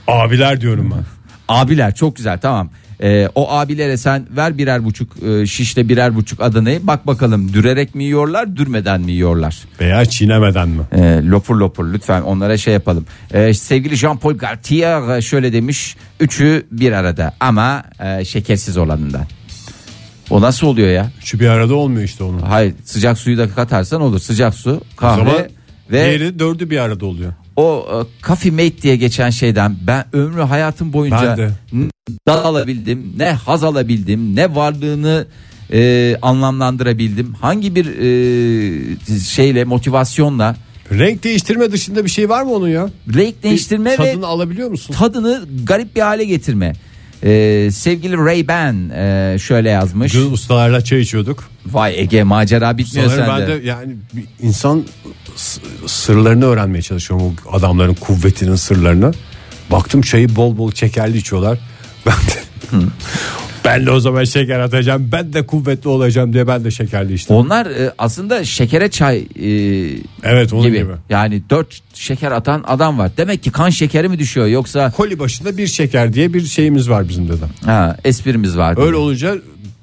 S3: Abiler diyorum ben.
S4: Abiler çok güzel tamam. E, o abilere sen ver birer buçuk e, şişle birer buçuk Adana'yı bak bakalım dürerek mi yiyorlar dürmeden mi yiyorlar?
S3: Veya çiğnemeden mi?
S4: E, lopur lopur lütfen onlara şey yapalım. E, sevgili Jean-Paul Gaultier e, şöyle demiş. Üçü bir arada ama e, şekersiz olanından. O nasıl oluyor ya?
S3: Şu bir arada olmuyor işte onun.
S4: Hayır sıcak suyu da katarsan olur. Sıcak su,
S3: O zaman
S4: kahve ve
S3: Diğeri dördü bir arada oluyor.
S4: o e, coffee mate diye geçen şeyden ben ömrü hayatım boyunca
S3: Ben de.
S4: ne dal alabildim, ne haz alabildim, ne varlığını e, anlamlandırabildim. Hangi bir e, şeyle motivasyonla
S3: Renk değiştirme dışında bir şey var mı onun ya?
S4: renk değiştirme ve
S3: Tadını alabiliyor musun?
S4: tadını garip bir hale getirme. E, sevgili Ray Ban e, şöyle yazmış.
S3: Dün ustalarla çay içiyorduk.
S4: Vay Ege macera bitmiyor
S3: Sanırım
S4: sende.
S3: ben de yani bir insan s- sırlarını öğrenmeye çalışıyorum o adamların kuvvetinin sırlarını. Baktım çayı bol bol şekerli içiyorlar. (laughs) Ben de, ben de o zaman şeker atacağım ben de kuvvetli olacağım diye ben de şekerli içtim.
S4: Onlar e, aslında şekere çay e,
S3: evet onun
S4: gibi.
S3: gibi.
S4: Yani 4 şeker atan adam var. Demek ki kan şekeri mi düşüyor yoksa
S3: Koli başında bir şeker diye bir şeyimiz var bizim dedi.
S4: ha, esprimiz var.
S3: Öyle olunca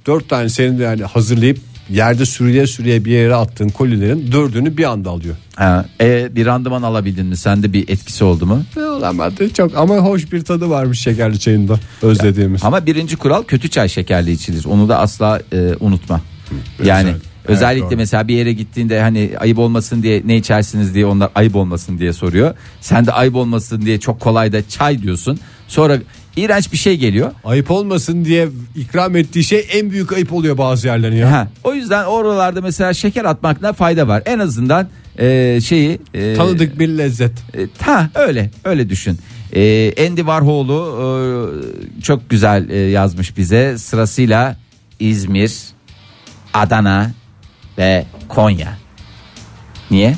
S3: dört tane senin de yani hazırlayıp yerde sürüye sürüye bir yere attığın kolilerin dördünü bir anda alıyor.
S4: Ha, e, bir randıman alabildin mi? Sende bir etkisi oldu mu?
S3: Ne olamadı çok ama hoş bir tadı varmış şekerli çayında özlediğimiz.
S4: Ama birinci kural kötü çay şekerli içilir. Onu da asla e, unutma. Yani
S3: Evet,
S4: özellikle
S3: doğru.
S4: mesela bir yere gittiğinde hani ayıp olmasın diye ne içersiniz diye onlar ayıp olmasın diye soruyor. Sen de ayıp olmasın diye çok kolay da çay diyorsun. Sonra iğrenç bir şey geliyor.
S3: Ayıp olmasın diye ikram ettiği şey en büyük ayıp oluyor bazı yerlerin ya.
S4: Ha, o yüzden oralarda mesela şeker atmakta fayda var. En azından e, şeyi e,
S3: Tanıdık bir lezzet.
S4: e, ha öyle öyle düşün. E, Andy Warhol'u e, çok güzel e, yazmış bize sırasıyla İzmir, Adana ve Konya. Niye?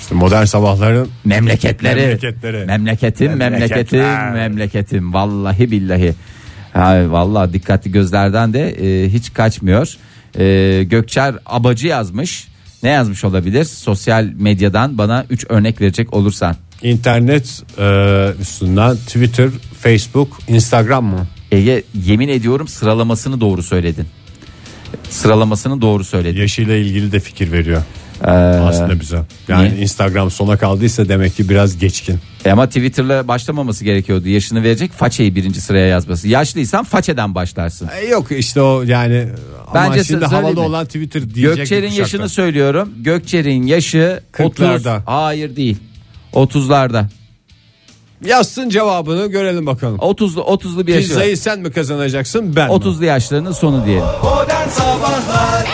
S3: İşte modern sabahların
S4: Memleketleri.
S3: Memleketleri.
S4: Memleketim, memleketim,
S3: Memleketler.
S4: memleketim. Vallahi billahi. Ay, vallahi dikkatli gözlerden de e, hiç kaçmıyor. E, Gökçer Abacı yazmış. Ne yazmış olabilir? Sosyal medyadan bana 3 örnek verecek olursan.
S3: İnternet e, üstünden Twitter, Facebook, Instagram mı?
S4: Ege yemin ediyorum sıralamasını doğru söyledin. Sıralamasını doğru söyledin.
S3: Yaşıyla ilgili de fikir veriyor
S4: Ee,
S3: aslında bize. Yani
S4: niye?
S3: Instagram sona kaldıysa demek ki biraz geçkin.
S4: E Ama Twitter'la başlamaması gerekiyordu. Yaşını verecek façeyi birinci sıraya yazması. Yaşlıysan façeden başlarsın.
S3: E, yok işte o yani ama
S4: Bence
S3: şimdi
S4: size
S3: havalı
S4: söyleyeyim mi?
S3: olan Twitter diyecek.
S4: Gökçer'in
S3: bir kuşakta.
S4: yaşını söylüyorum. Gökçer'in yaşı 30.
S3: Kırklarda.
S4: Hayır değil. 30'larda.
S3: Yazsın cevabını görelim bakalım.
S4: 30'lu 30'lu bir yaşı. var.
S3: Pizzayı sen mi kazanacaksın ben mi?
S4: 30'lu yaşlarının sonu diyelim.
S2: Modern Sabahlar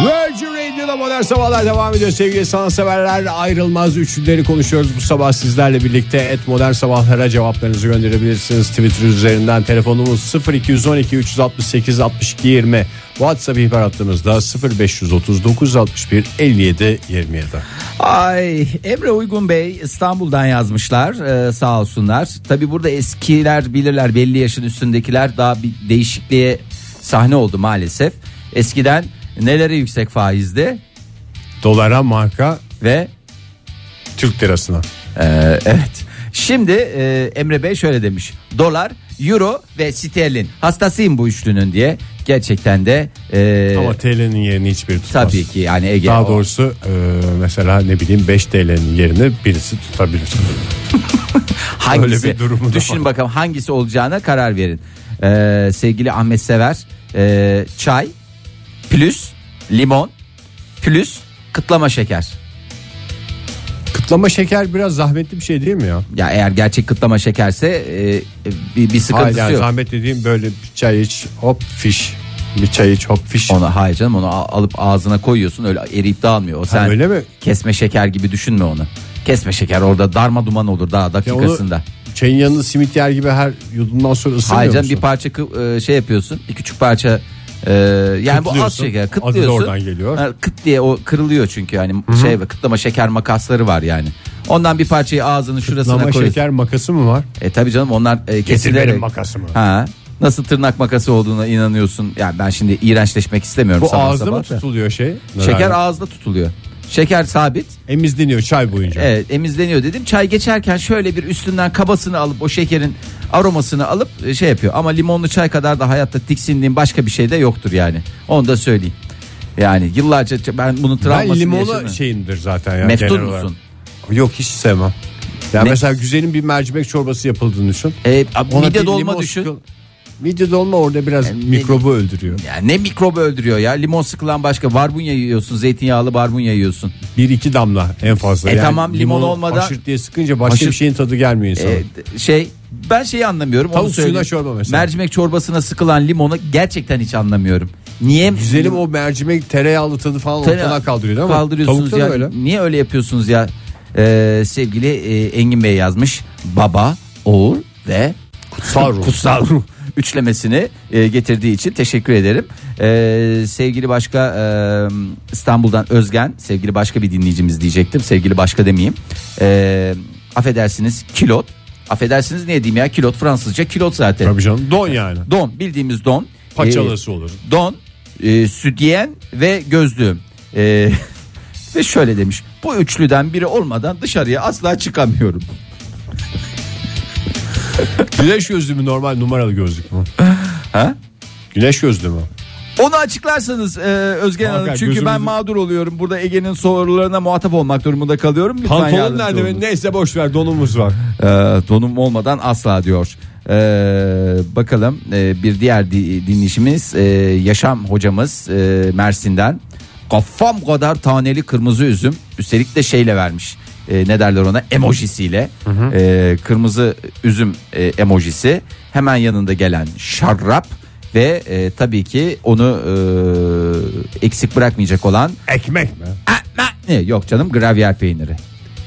S3: Virgin Radio'da modern sabahlar devam ediyor sevgili sanatseverler. Ayrılmaz üçlüleri konuşuyoruz bu sabah sizlerle birlikte. Et modern sabahlara cevaplarınızı gönderebilirsiniz. Twitter üzerinden telefonumuz 0212 368 62 20. WhatsApp ihbar hattımızda 0539 61 57 27.
S4: Ay Emre Uygun Bey İstanbul'dan yazmışlar ee, sağ olsunlar. Tabi burada eskiler bilirler belli yaşın üstündekiler daha bir değişikliğe sahne oldu maalesef. Eskiden neleri yüksek faizdi
S3: Dolara marka
S4: ve
S3: Türk lirasına.
S4: Ee, evet. Şimdi e, Emre Bey şöyle demiş. Dolar, euro ve sterlin. Hastasıyım bu üçlünün diye. Gerçekten de e,
S3: Ama TL'nin yerini hiçbiri tutmaz.
S4: tabii ki yani Ege.
S3: Daha
S4: o-
S3: doğrusu e, mesela ne bileyim 5 TL'nin yerini birisi tutabilir.
S4: hangisi?
S3: öyle bir durumu da
S4: Düşün
S3: var.
S4: bakalım hangisi olacağına karar verin. Ee, sevgili Ahmet Sever, e, çay plus limon plus kıtlama şeker.
S3: Kıtlama şeker biraz zahmetli bir şey değil mi ya?
S4: Ya eğer gerçek kıtlama şekerse e, bir, bir sıkıntısı
S3: Hala
S4: yok.
S3: zahmet dediğim böyle bir çay iç hop fiş. Bir çay iç hop fiş.
S4: Ona hayır canım onu al- alıp ağzına koyuyorsun öyle eriyip dağılmıyor. O sen
S3: öyle mi?
S4: Kesme şeker gibi düşünme onu. Kesme şeker orada darma duman olur daha
S3: onu
S4: dakikasında.
S3: Çayın yanında simit yer gibi her yudumdan sonra ısınıyor
S4: hayır canım
S3: musun?
S4: bir parça kı- e, şey yapıyorsun bir küçük parça e, yani bu az
S3: Kıtlıyorsun.
S4: şeker
S3: Adı da
S4: kıtlıyorsun.
S3: oradan geliyor.
S4: Ha, Kıt diye o kırılıyor çünkü yani şey ve kıtlama şeker makasları var yani. Ondan bir parçayı ağzının şurasına
S3: Kıtlama
S4: koyuyorsun.
S3: şeker makası mı var?
S4: E tabi canım onlar e, kesilerek.
S3: benim makasımı.
S4: Ha. Nasıl tırnak makası olduğuna inanıyorsun. Yani ben şimdi iğrençleşmek istemiyorum
S3: Bu
S4: sabah
S3: ağızda
S4: sabah
S3: mı
S4: da.
S3: tutuluyor şey?
S4: Şeker
S3: Herhalde.
S4: ağızda tutuluyor. Şeker sabit.
S3: emizleniyor çay boyunca.
S4: Evet emizleniyor dedim. Çay geçerken şöyle bir üstünden kabasını alıp o şekerin aromasını alıp e, şey yapıyor. Ama limonlu çay kadar da hayatta tiksindiğim başka bir şey de yoktur yani. Onu da söyleyeyim. Yani yıllarca ç- ben bunun travmasını
S3: Ben limonu şey
S4: yaşadım.
S3: şeyindir zaten ya.
S4: şey Meftun
S3: genel olarak.
S4: musun?
S3: Yok hiç sevmem. Ya
S4: Ne-
S3: mesela güzelim bir mercimek çorbası yapıldığını düşün.
S4: E, ab-
S3: Ona
S4: mide
S3: bir
S4: dolma
S3: limon
S4: düşün.
S3: sıkıl- Mide dolma orada biraz
S4: Yani-
S3: mikrobu öldürüyor.
S4: Ya ne mikrobu öldürüyor ya. Limon sıkılan başka. Barbunya yiyorsun. Zeytinyağlı barbunya yiyorsun.
S3: Bir iki damla en fazla.
S4: E tamam, limon
S3: limonu
S4: olmadan-
S3: Haşır diye sıkınca başka
S4: Haşır-
S3: bir şeyin tadı gelmiyor insana.
S4: E, d- şey ben şeyi anlamıyorum.
S3: Tavuk
S4: onu
S3: suyuna
S4: söyleyeyim.
S3: çorba mesela.
S4: Mercimek çorbasına sıkılan limonu gerçekten hiç anlamıyorum. Niye?
S3: Güzelim o mercimek tereyağlı tadı falan ortadan kaldırıyor ama
S4: Kaldırıyorsunuz
S3: tavukta da
S4: ya.
S3: öyle.
S4: Niye öyle yapıyorsunuz ya? Ee, sevgili e, Engin Bey yazmış. Baba, oğul ve
S3: Kutsal ruh.
S4: (laughs) kutsal ruh üçlemesini e, getirdiği için teşekkür ederim. Ee, sevgili başka e, İstanbul'dan Özgen, sevgili başka bir dinleyicimiz diyecektim. Sevgili başka demeyeyim. Ee, affedersiniz kilot. Affedersiniz ne diyeyim ya kilot Fransızca kilot zaten.
S3: Tabii canım don yani.
S4: Don bildiğimiz don. Ee,
S3: Paçalısı olur.
S4: don, e, sütyen ve gözlüğüm. E, (laughs) ve şöyle demiş. Bu üçlüden biri olmadan dışarıya asla çıkamıyorum.
S3: Güneş gözlüğü mü normal numaralı gözlük mü?
S4: Ha?
S3: Güneş gözlüğü mü?
S4: Onu açıklarsanız e, Özgen Hanım
S3: Hakan,
S4: çünkü ben
S3: gözümüzü-
S4: mağdur oluyorum. Burada Ege'nin sorularına muhatap olmak durumunda kalıyorum. Lütfen
S3: Pantolon
S4: yardımcı
S3: nerede?
S4: olun.
S3: be? Neyse boş ver donumuz var.
S4: E, donum olmadan asla diyor. E, bakalım e, bir diğer di- dinleyicimiz e, Yaşam hocamız e, Mersin'den. Kafam kadar taneli kırmızı üzüm. Üstelik de şeyle vermiş. E, ne derler ona? Emojisiyle. E, kırmızı üzüm e, emojisi. Hemen yanında gelen şarap ve e, tabii ki onu e, eksik bırakmayacak olan e,
S3: Ekmek mi?
S4: ne yok canım gravyer peyniri.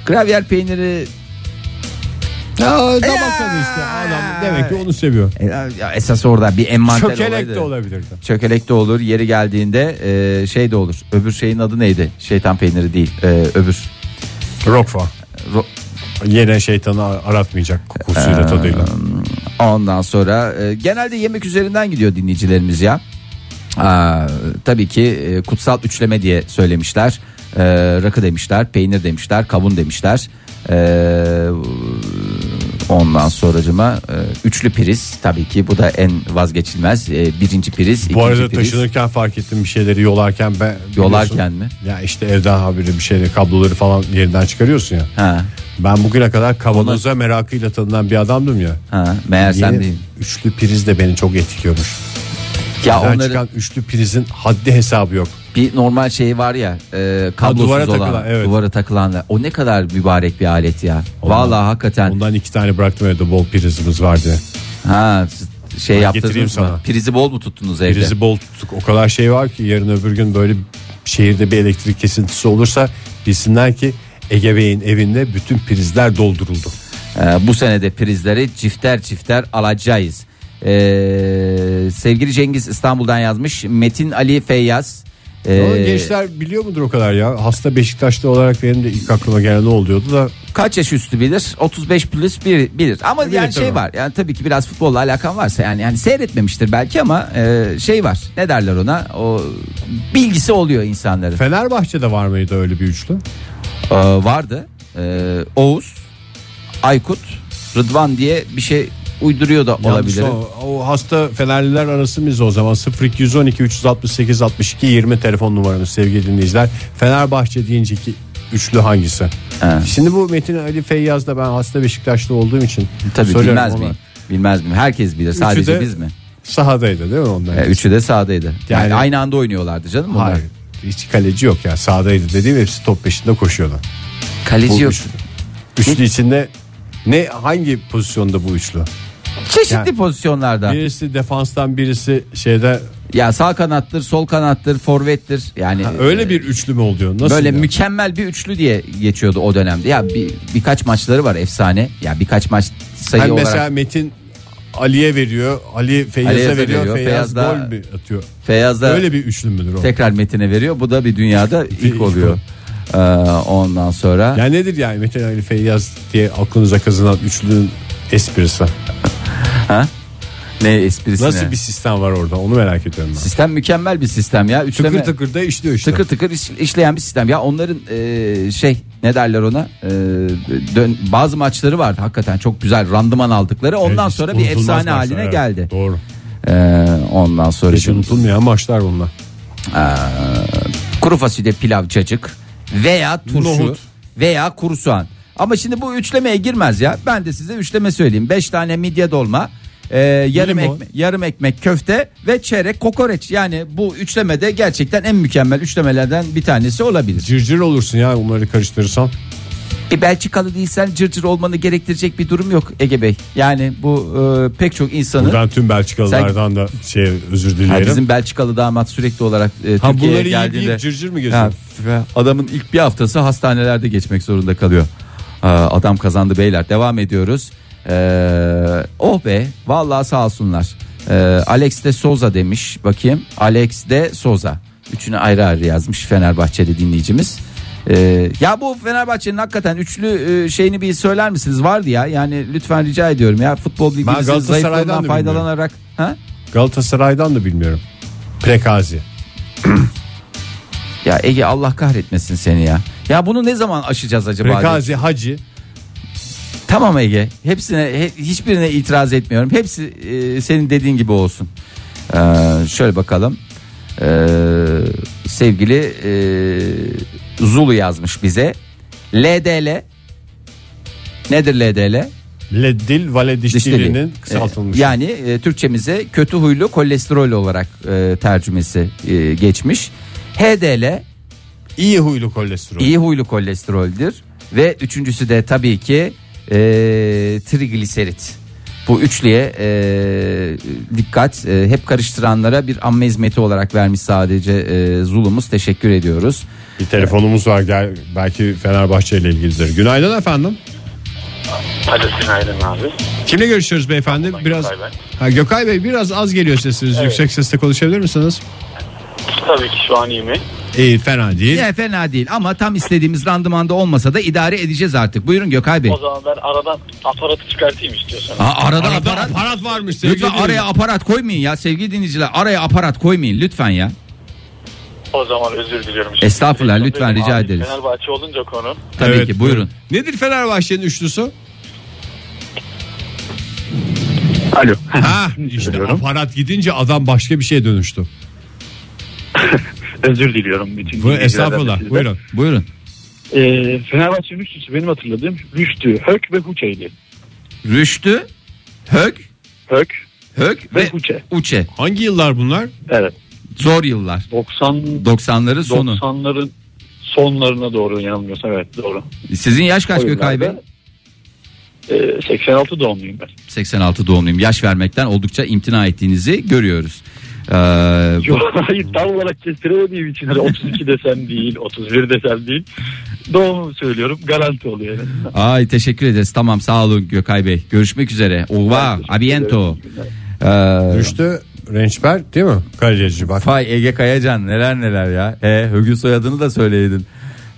S4: Gravyer peyniri
S3: Aa, damak tadı işte. Adam demek ki onu seviyor.
S4: E, ya esas orada bir envanter
S3: Çökelek
S4: olaydı.
S3: de olabilirdi.
S4: Çökelek de olur. Yeri geldiğinde e, şey de olur. Öbür şeyin adı neydi? Şeytan peyniri değil. E, öbür.
S3: Rokfa.
S4: Ro-
S3: Yine şeytanı aratmayacak
S4: Ee,
S3: kokusuyla tadıyla.
S4: Ondan sonra e, genelde yemek üzerinden gidiyor dinleyicilerimiz ya. Aa, tabii ki e, kutsal üçleme diye söylemişler. E, rakı demişler, peynir demişler, kavun demişler. Ee, ondan sonracıma e, üçlü priz tabii ki bu da en vazgeçilmez Ee, birinci priz.
S3: Bu
S4: ikinci
S3: arada
S4: priz.
S3: taşınırken fark ettim bir şeyleri yolarken ben
S4: Yolarken
S3: biliyorsun,
S4: mi?
S3: Ya işte evden haberi bir şeyleri kabloları falan yerinden çıkarıyorsun ya.
S4: Ha,
S3: Ben bugüne kadar kavanoza merakıyla tanınan bir adamdım ya.
S4: ha, meğer sen
S3: Yeni
S4: değil.
S3: Üçlü priz de beni çok etkiliyormuş.
S4: Ya
S3: Ben
S4: onların
S3: çıkan üçlü prizin haddi hesabı yok.
S4: bir normal şey var ya e, kablosuz
S3: duvara
S4: olan
S3: takılan, evet.
S4: duvara takılanlar. O ne kadar mübarek bir alet ya. Vallahi hakikaten.
S3: Ondan iki tane bıraktım evde bol prizimiz vardı.
S4: Ha s- şey
S3: getireyim
S4: yaptınız
S3: sana.
S4: mı? Prizi bol mu tuttunuz evde?
S3: Prizi bol tuttuk. O kadar şey var ki yarın öbür gün böyle şehirde bir elektrik kesintisi olursa bilsinler ki Ege Bey'in evinde bütün prizler dolduruldu.
S4: Ee, bu senede prizleri çifter çifter alacağız. Ee, sevgili Cengiz İstanbul'dan yazmış. Metin Ali Feyyaz. Ee,
S3: Ama gençler biliyor mudur o kadar ya? Hasta Beşiktaşlı olarak benim de ilk aklıma gelen ne oluyordu da
S4: kaç yaş üstü bilir? 35 plus bir bilir. Ama
S3: Bilir
S4: yani şey
S3: tabii.
S4: var. Yani tabii ki biraz futbolla alakan varsa yani yani seyretmemiştir belki ama e, şey var. Ne derler ona? O bilgisi oluyor insanların.
S3: Fenerbahçe'de var mıydı öyle bir üçlü?
S4: Ee, vardı. Ee, Oğuz, Aykut, Rıdvan diye bir şey uyduruyor da olabilir.
S3: Yanlış O, o hasta Fenerliler arası biz o zaman 0212 368 62 20 telefon numaramız sevgili dinleyiciler. Fenerbahçe deyince ki üçlü hangisi? Şimdi bu Metin Ali Feyyaz da ben hasta Beşiktaşlı olduğum için
S4: Tabii
S3: söylerim
S4: bilmez
S3: ona.
S4: miyim? Bilmez miyim? Herkes bilir. Sadece
S3: de-
S4: biz mi?
S3: Sahadaydı değil mi onlar?
S4: E, üçü de sahadaydı. Yani,
S3: Yani-
S4: aynı anda oynuyorlardı canım bunlar.
S3: Hayır. Hiç kaleci yok ya. Sahadaydı dediğim hepsi top peşinde koşuyordu.
S4: Kaleci
S3: Bu
S4: yok.
S3: üçlü. Üçlü içinde ne hangi pozisyonda bu üçlü?
S4: Çeşitli
S3: Yani-
S4: pozisyonlarda.
S3: Birisi defanstan birisi şeyde
S4: Ya sağ kanattır, sol kanattır, forvettir. Yani
S3: öyle bir üçlü mü oluyor? Nasıl
S4: Ee, Böyle
S3: ya?
S4: mükemmel bir üçlü diye geçiyordu o dönemde. Ya bir, birkaç maçları var efsane. Ya birkaç maç sayı
S3: Hem
S4: olarak
S3: mesela Metin Ali'ye veriyor. Ali Feyyaz'a
S4: Feyyaz'a
S3: veriyor.
S4: veriyor,
S3: Feyyaz,
S4: Feyyaz da-
S3: gol bir atıyor.
S4: Feyyaz'da
S3: Öyle bir üçlü müdür o?
S4: tekrar Metin'e veriyor. Bu da bir dünyada ilk
S3: İlk
S4: oluyor. Ee, ondan sonra
S3: Yani nedir yani Metin Ali Feyyaz diye aklınıza kazınan üçlünün esprisi?
S4: ne esprisine?
S3: Nasıl bir sistem var orada onu merak ediyorum ben.
S4: sistem mükemmel bir sistem ya. Üçleme...
S3: Tıkır tıkır da işliyor işte.
S4: Tıkır tıkır iş- işleyen bir sistem. Ya onların e, şey ne derler ona E, dön- bazı maçları vardı hakikaten çok güzel randıman aldıkları. Ondan
S3: Evet, hiç
S4: sonra bir
S3: unutulmaz
S4: efsane
S3: maçlar,
S4: haline
S3: evet.
S4: geldi.
S3: Doğru.
S4: E, ondan sonra
S3: Hiç unutulmayan maçlar bunlar.
S4: kuru fasulye pilav cacık veya turşu
S3: Nohut.
S4: veya kuru soğan. Ama şimdi bu üçlemeye girmez ya. Ben de size üçleme söyleyeyim. 5 tane midye dolma, e, yarım
S3: Limon.
S4: ekme, yarım ekmek köfte ve çeyrek kokoreç. Yani bu üçlemede gerçekten en mükemmel üçlemelerden bir tanesi olabilir.
S3: Cırcır olursun ya bunları karıştırırsan.
S4: Bir E, Belçikalı değilsen cırcır olmanı gerektirecek bir durum yok Ege Bey. Yani bu e, pek çok insanı
S3: Buradan tüm Belçikalılardan da şey özür
S4: Ha,
S3: dilerim.
S4: bizim Belçikalı damat sürekli olarak e,
S3: ha,
S4: Türkiye'ye
S3: bunları yiyip
S4: geldiğinde
S3: yiyip cırcır mı
S4: Ha,
S3: geziyor?
S4: f- adamın ilk bir haftası hastanelerde geçmek zorunda kalıyor. Aa, adam kazandı beyler. Devam ediyoruz. Ee, oh be vallahi sağ olsunlar. Ee, Alex de Souza demiş. Bakayım. Alex de Souza. Üçünü ayrı ayrı yazmış Fenerbahçeli dinleyicimiz. Ee, ya bu Fenerbahçe'nin hakikaten üçlü e, şeyini bir söyler misiniz? Vardı ya. Yani lütfen rica ediyorum ya futbol bilginizin
S3: Galatasaray'dan da
S4: zayıflığından
S3: bilmiyorum.
S4: faydalanarak. Ha?
S3: Galatasaray'dan da bilmiyorum. Prekazi.
S4: Ya Ege Allah kahretmesin seni ya. Ya bunu ne zaman aşacağız acaba?
S3: Prekazi Hacı.
S4: Tamam Ege. Hepsine he- hiçbirine itiraz etmiyorum. Hepsi e, senin dediğin gibi olsun. Ee, şöyle bakalım. Ee, sevgili e, Zulu yazmış bize. LDL. Nedir LDL?
S3: Leddil Valediştili'nin
S4: Dişleri.
S3: kısaltılmış.
S4: Ee, Yani e, Türkçemize kötü huylu kolesterol olarak e, tercümesi e, geçmiş. HDL
S3: iyi huylu kolesterol.
S4: iyi huylu kolesteroldür ve üçüncüsü de tabii ki e, trigliserit. Bu üçlüye e, dikkat e, hep karıştıranlara bir amme hizmeti olarak vermiş sadece e, Zulumuz teşekkür ediyoruz.
S3: Bir telefonumuz var gel belki Fenerbahçe ile ilgilidir. Günaydın efendim.
S9: Alo günaydın abi.
S3: Kimle görüşüyoruz beyefendi? Biraz
S9: Gökay ben.
S3: ha, Gökay Bey biraz az geliyor sesiniz. Yüksek sesle konuşabilir misiniz?
S9: Tabii ki şu an iyi mi?
S3: İyi fena değil.
S4: Ya fena değil ama tam istediğimiz randımanda olmasa da idare edeceğiz artık. Buyurun Gökay Bey.
S9: O zaman ben aradan aparatı çıkartayım istiyorsan.
S4: Aa, arada
S3: Arada
S4: aparat-
S3: aparat varmış. sevgili
S4: Lütfen
S3: dinleyiciler.
S4: araya aparat koymayın ya sevgili dinleyiciler. Araya aparat koymayın lütfen ya.
S9: O zaman özür diliyorum. Şimdi
S4: Estağfurullah,
S9: direkt
S4: lütfen,
S9: dönelim
S4: rica
S9: abi.
S4: ederiz.
S9: Fenerbahçe olunca konu.
S4: Tabii
S5: Evet,
S4: ki buyurun.
S5: Nedir Fenerbahçe'nin
S9: (laughs)
S5: üçlüsü?
S10: (laughs) Alo.
S5: ha işte aparat gidince adam başka bir şeye dönüştü.
S10: Özür diliyorum bütün.
S5: Bu
S10: dinleyicilerden
S5: estağfurullah.
S10: de sizden.
S5: Buyurun.
S4: Buyurun.
S10: Ee, Fenerbahçe'nin üçlüsü benim hatırladığım Rüştü, Hök ve Huçe'ydi.
S4: Rüştü, Hök,
S10: Hök
S4: Hök
S10: ve
S4: ve
S10: Huçe.
S4: Uçe.
S5: Hangi yıllar bunlar?
S10: Evet.
S4: Zor yıllar.
S10: 90
S4: 90'ların sonu.
S10: 90'ların sonlarına doğru yanılmıyorsam evet doğru.
S4: Sizin yaş kaç
S10: O
S4: Gökay Bey?
S10: yıllarda, e, 86 doğumluyum ben.
S4: 86 doğumluyum. Yaş vermekten oldukça imtina ettiğinizi görüyoruz. Ee, bu-
S10: Yok hayır tam olarak kestiremediğim için hani 32 desem değil 31 desem değil doğumumu söylüyorum garanti oluyor. Yani.
S4: Ay teşekkür ederiz. Tamam sağ olun Gökay Bey. Görüşmek üzere. Ova, abiento. Ee,
S3: Düştü Rençber değil mi? Kaleci bak.
S4: Fay Ege Kayacan neler neler ya. E, Hög'ün soyadını da söyleydin.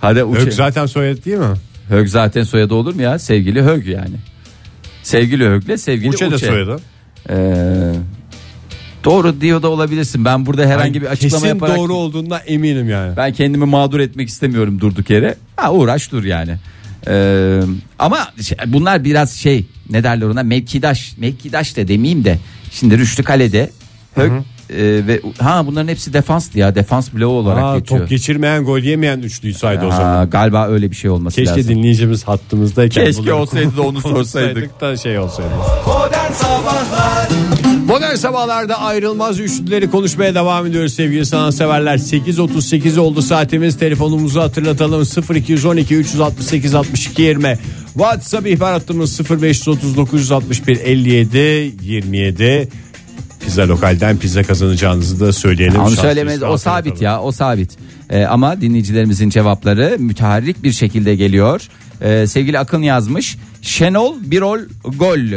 S4: Hadi uç.
S3: Ök zaten soyadı değil mi?
S4: Hög zaten soyadı olur mu ya? Sevgili Hög yani. Sevgili Hög'le sevgili Uçe.
S3: Uçe de soyadı.
S4: Ee, doğru diyor da olabilirsin. Ben burada herhangi bir açıklama
S3: Kesin
S4: yaparak...
S3: doğru olduğundan eminim yani.
S4: Ben kendimi mağdur etmek istemiyorum durduk yere. Ha uğraş dur yani. Ee, ama şey- bunlar biraz şey ne derler ona mevkidaş. Mevkidaş da demeyeyim de. Şimdi Rüştü Kale'de Hök e, ve ha bunların hepsi defanstı ya. Defans bloğu olarak
S3: Aa,
S4: geçiyor.
S3: top geçirmeyen gol yemeyen üçlüyü saydı o
S4: Ha,
S3: zaman.
S4: galiba öyle bir şey olması
S3: Keşke
S4: lazım.
S3: dinleyicimiz hattımızdayken
S4: Keşke
S3: bunu
S4: olsaydı da onu
S3: konuşsaydık
S4: sorsaydık.
S3: da şey olsaydı.
S2: Modern Sabahlar
S5: Modern sabahlarda ayrılmaz üçlüleri konuşmaya devam ediyoruz sevgili sanatseverler. 8.38 oldu saatimiz. Telefonumuzu hatırlatalım. 0212 368 62 20. WhatsApp ihbar hattımız 0539 61 57 27. Pizza lokalden pizza kazanacağınızı da söyleyelim.
S4: Onu
S5: Şanslıyız.
S4: söylemez o sabit
S5: Hatırlatalım.
S4: ya o sabit. Ee, ama dinleyicilerimizin cevapları müteharrik bir şekilde geliyor. Ee, sevgili Akın yazmış. Şenol Birol Gol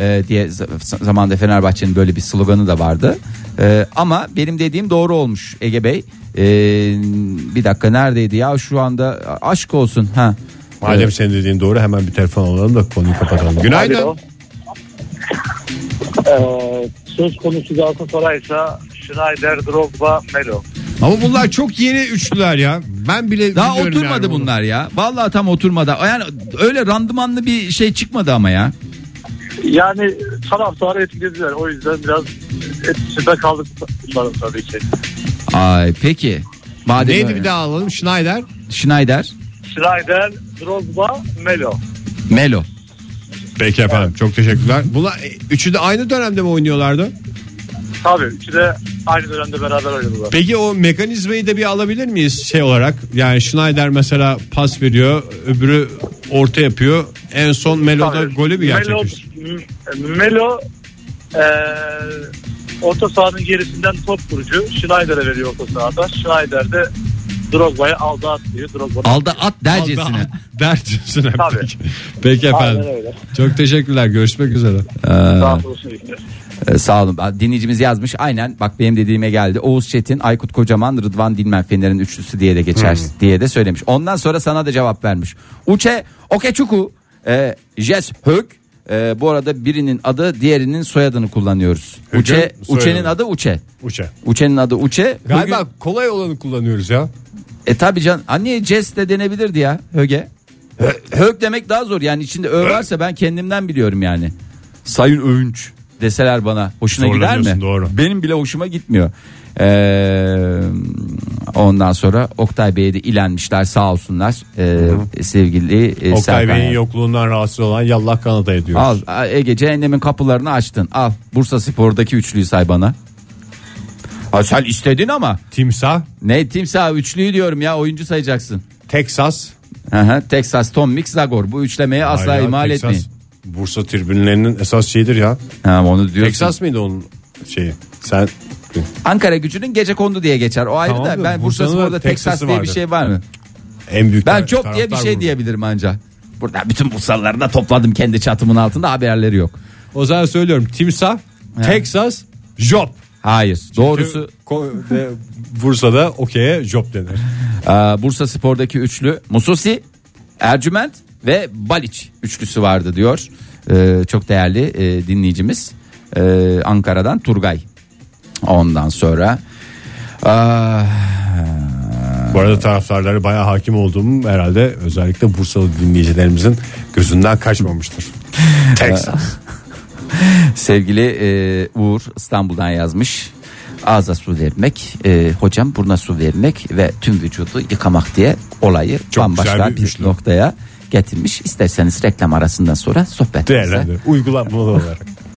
S4: e, diye z- zamanda Fenerbahçe'nin böyle bir sloganı da vardı. Ee, ama benim dediğim doğru olmuş Ege Bey. Ee, bir dakika neredeydi ya şu anda aşk olsun ha.
S3: Madem senin dediğin doğru hemen bir telefon alalım da konuyu kapatalım. Günaydın.
S9: Alo.
S8: Ee, söz konusu Galatasaray'sa Schneider, Drogba, Melo.
S3: Ama bunlar çok yeni üçlüler ya. Ben bile
S4: Daha
S3: bilmiyorum
S4: oturmadı
S3: yani bunu.
S4: bunlar ya. Vallahi tam oturmadı. Yani öyle randımanlı bir şey çıkmadı ama ya.
S8: Yani taraftarı etkilediler. O yüzden biraz etkisinde kaldık bunların tabii ki.
S4: Ay peki. Madem
S3: Neydi
S4: öyle.
S3: bir daha alalım? Schneider.
S4: Schneider,
S8: Schneider, Drogba, Melo.
S4: Melo.
S3: Peki efendim. Çok teşekkürler. Bunlar e, üçü de aynı dönemde mi oynuyorlardı?
S8: Tabii üçü de aynı dönemde beraber oynadılar.
S3: Peki o mekanizmayı da bir alabilir miyiz şey olarak? Yani Schneider mesela pas veriyor, öbürü orta yapıyor. En son Melo'da
S8: Tabii.
S3: golü mü
S8: Melo,
S3: gerçekleşti?
S8: M- Melo eee, orta sahanın gerisinden top kurucu Schneider'e veriyor orta sahada. Schneider de Drogba'ya aldı at diyor. Drogba
S4: Alda at dercesine.
S3: Dercesine.
S8: Tabii.
S3: Peki. Peki efendim.
S8: Aynen öyle.
S3: Çok teşekkürler. Görüşmek üzere.
S8: Sağ olsun. iyilikler.
S4: Ee, sağ olun. Dinleyicimiz yazmış. Aynen bak benim dediğime geldi. Oğuz Çetin, Aykut Kocaman, Rıdvan Dilmen Fener'in üçlüsü diye de geçer
S3: Hmm.
S4: diye de söylemiş. Ondan sonra sana da cevap vermiş. Uçe Okeçuku, e, Jes Hök. E, bu arada birinin adı diğerinin soyadını kullanıyoruz.
S3: Hök'ün
S4: Uçe,
S3: soyadı.
S4: Uçe'nin adı Uçe.
S3: Uça.
S4: Uçe'nin adı Uçe.
S3: Galiba
S4: Hök'ün-
S3: kolay olanı kullanıyoruz ya.
S4: E tabi can. Anne Ces de denebilirdi ya Höge. Hö- Hök demek daha zor. Yani içinde ö varsa ben kendimden biliyorum yani. Sayın Övünç deseler bana hoşuna gider mi?
S3: Zorlanıyorsun, doğru.
S4: Benim bile hoşuma gitmiyor. Ee, ondan sonra Oktay Bey'e de ilenmişler sağ olsunlar. Ee, sevgili e,
S3: Oktay
S4: Serkan.
S3: Bey'in yokluğundan rahatsız olan yallah Kanada ediyor.
S4: Al a- Ege cehennemin kapılarını açtın. Al Bursa Spor'daki üçlüyü say bana. Ha, sen istedin ama.
S3: Timsah,
S4: Ne timsah üçlüyü diyorum ya oyuncu sayacaksın.
S3: Texas.
S4: Aha, Texas, Tom Mix, Zagor. Bu üçlemeyi asla
S3: Hala
S4: imal
S3: Texas.
S4: etmeyin.
S3: Bursa tribünlerinin esas şeyidir ya.
S4: Ha, onu diyorsun.
S3: Texas mıydı onun şeyi? Sen
S4: Ankara gücünün gece kondu diye geçer. O ayrı
S3: Tamam
S4: da
S3: da
S4: ben Bursa
S3: Bursa'nın da
S4: Spor'da Texas
S3: Texas'ı
S4: diye bir
S3: vardır.
S4: şey var mı?
S3: en büyük
S4: Ben
S3: tar-
S4: çok diye bir
S3: taraftar
S4: şey
S3: grubu.
S4: diyebilirim anca. Burada bütün Bursalıları da topladım kendi çatımın altında haberleri yok.
S3: O zaman söylüyorum timsah, Texas, job.
S4: Hayır. Doğrusu
S3: Ko- de- Bursa'da okey'e job denir.
S4: e, Bursa Spor'daki üçlü Mususi, Ercüment ve Baliç üçlüsü vardı diyor. E, çok değerli e, dinleyicimiz E, Ankara'dan Turgay. Ondan sonra ah,
S3: Bu arada taraftarlara bayağı hakim olduğum herhalde özellikle Bursalı dinleyicilerimizin gözünden kaçmamıştır. Texas.
S4: Sevgili e, Uğur İstanbul'dan yazmış. Ağza su vermek, e, hocam burna su vermek ve tüm vücudu yıkamak diye olayı
S3: Çok güzel
S4: bambaşka
S3: bir
S4: bir
S3: üçlü.
S4: noktaya getirmiş. İsterseniz reklam arasından sonra sohbetimize
S3: Değerlendir. Uygulamalı olarak.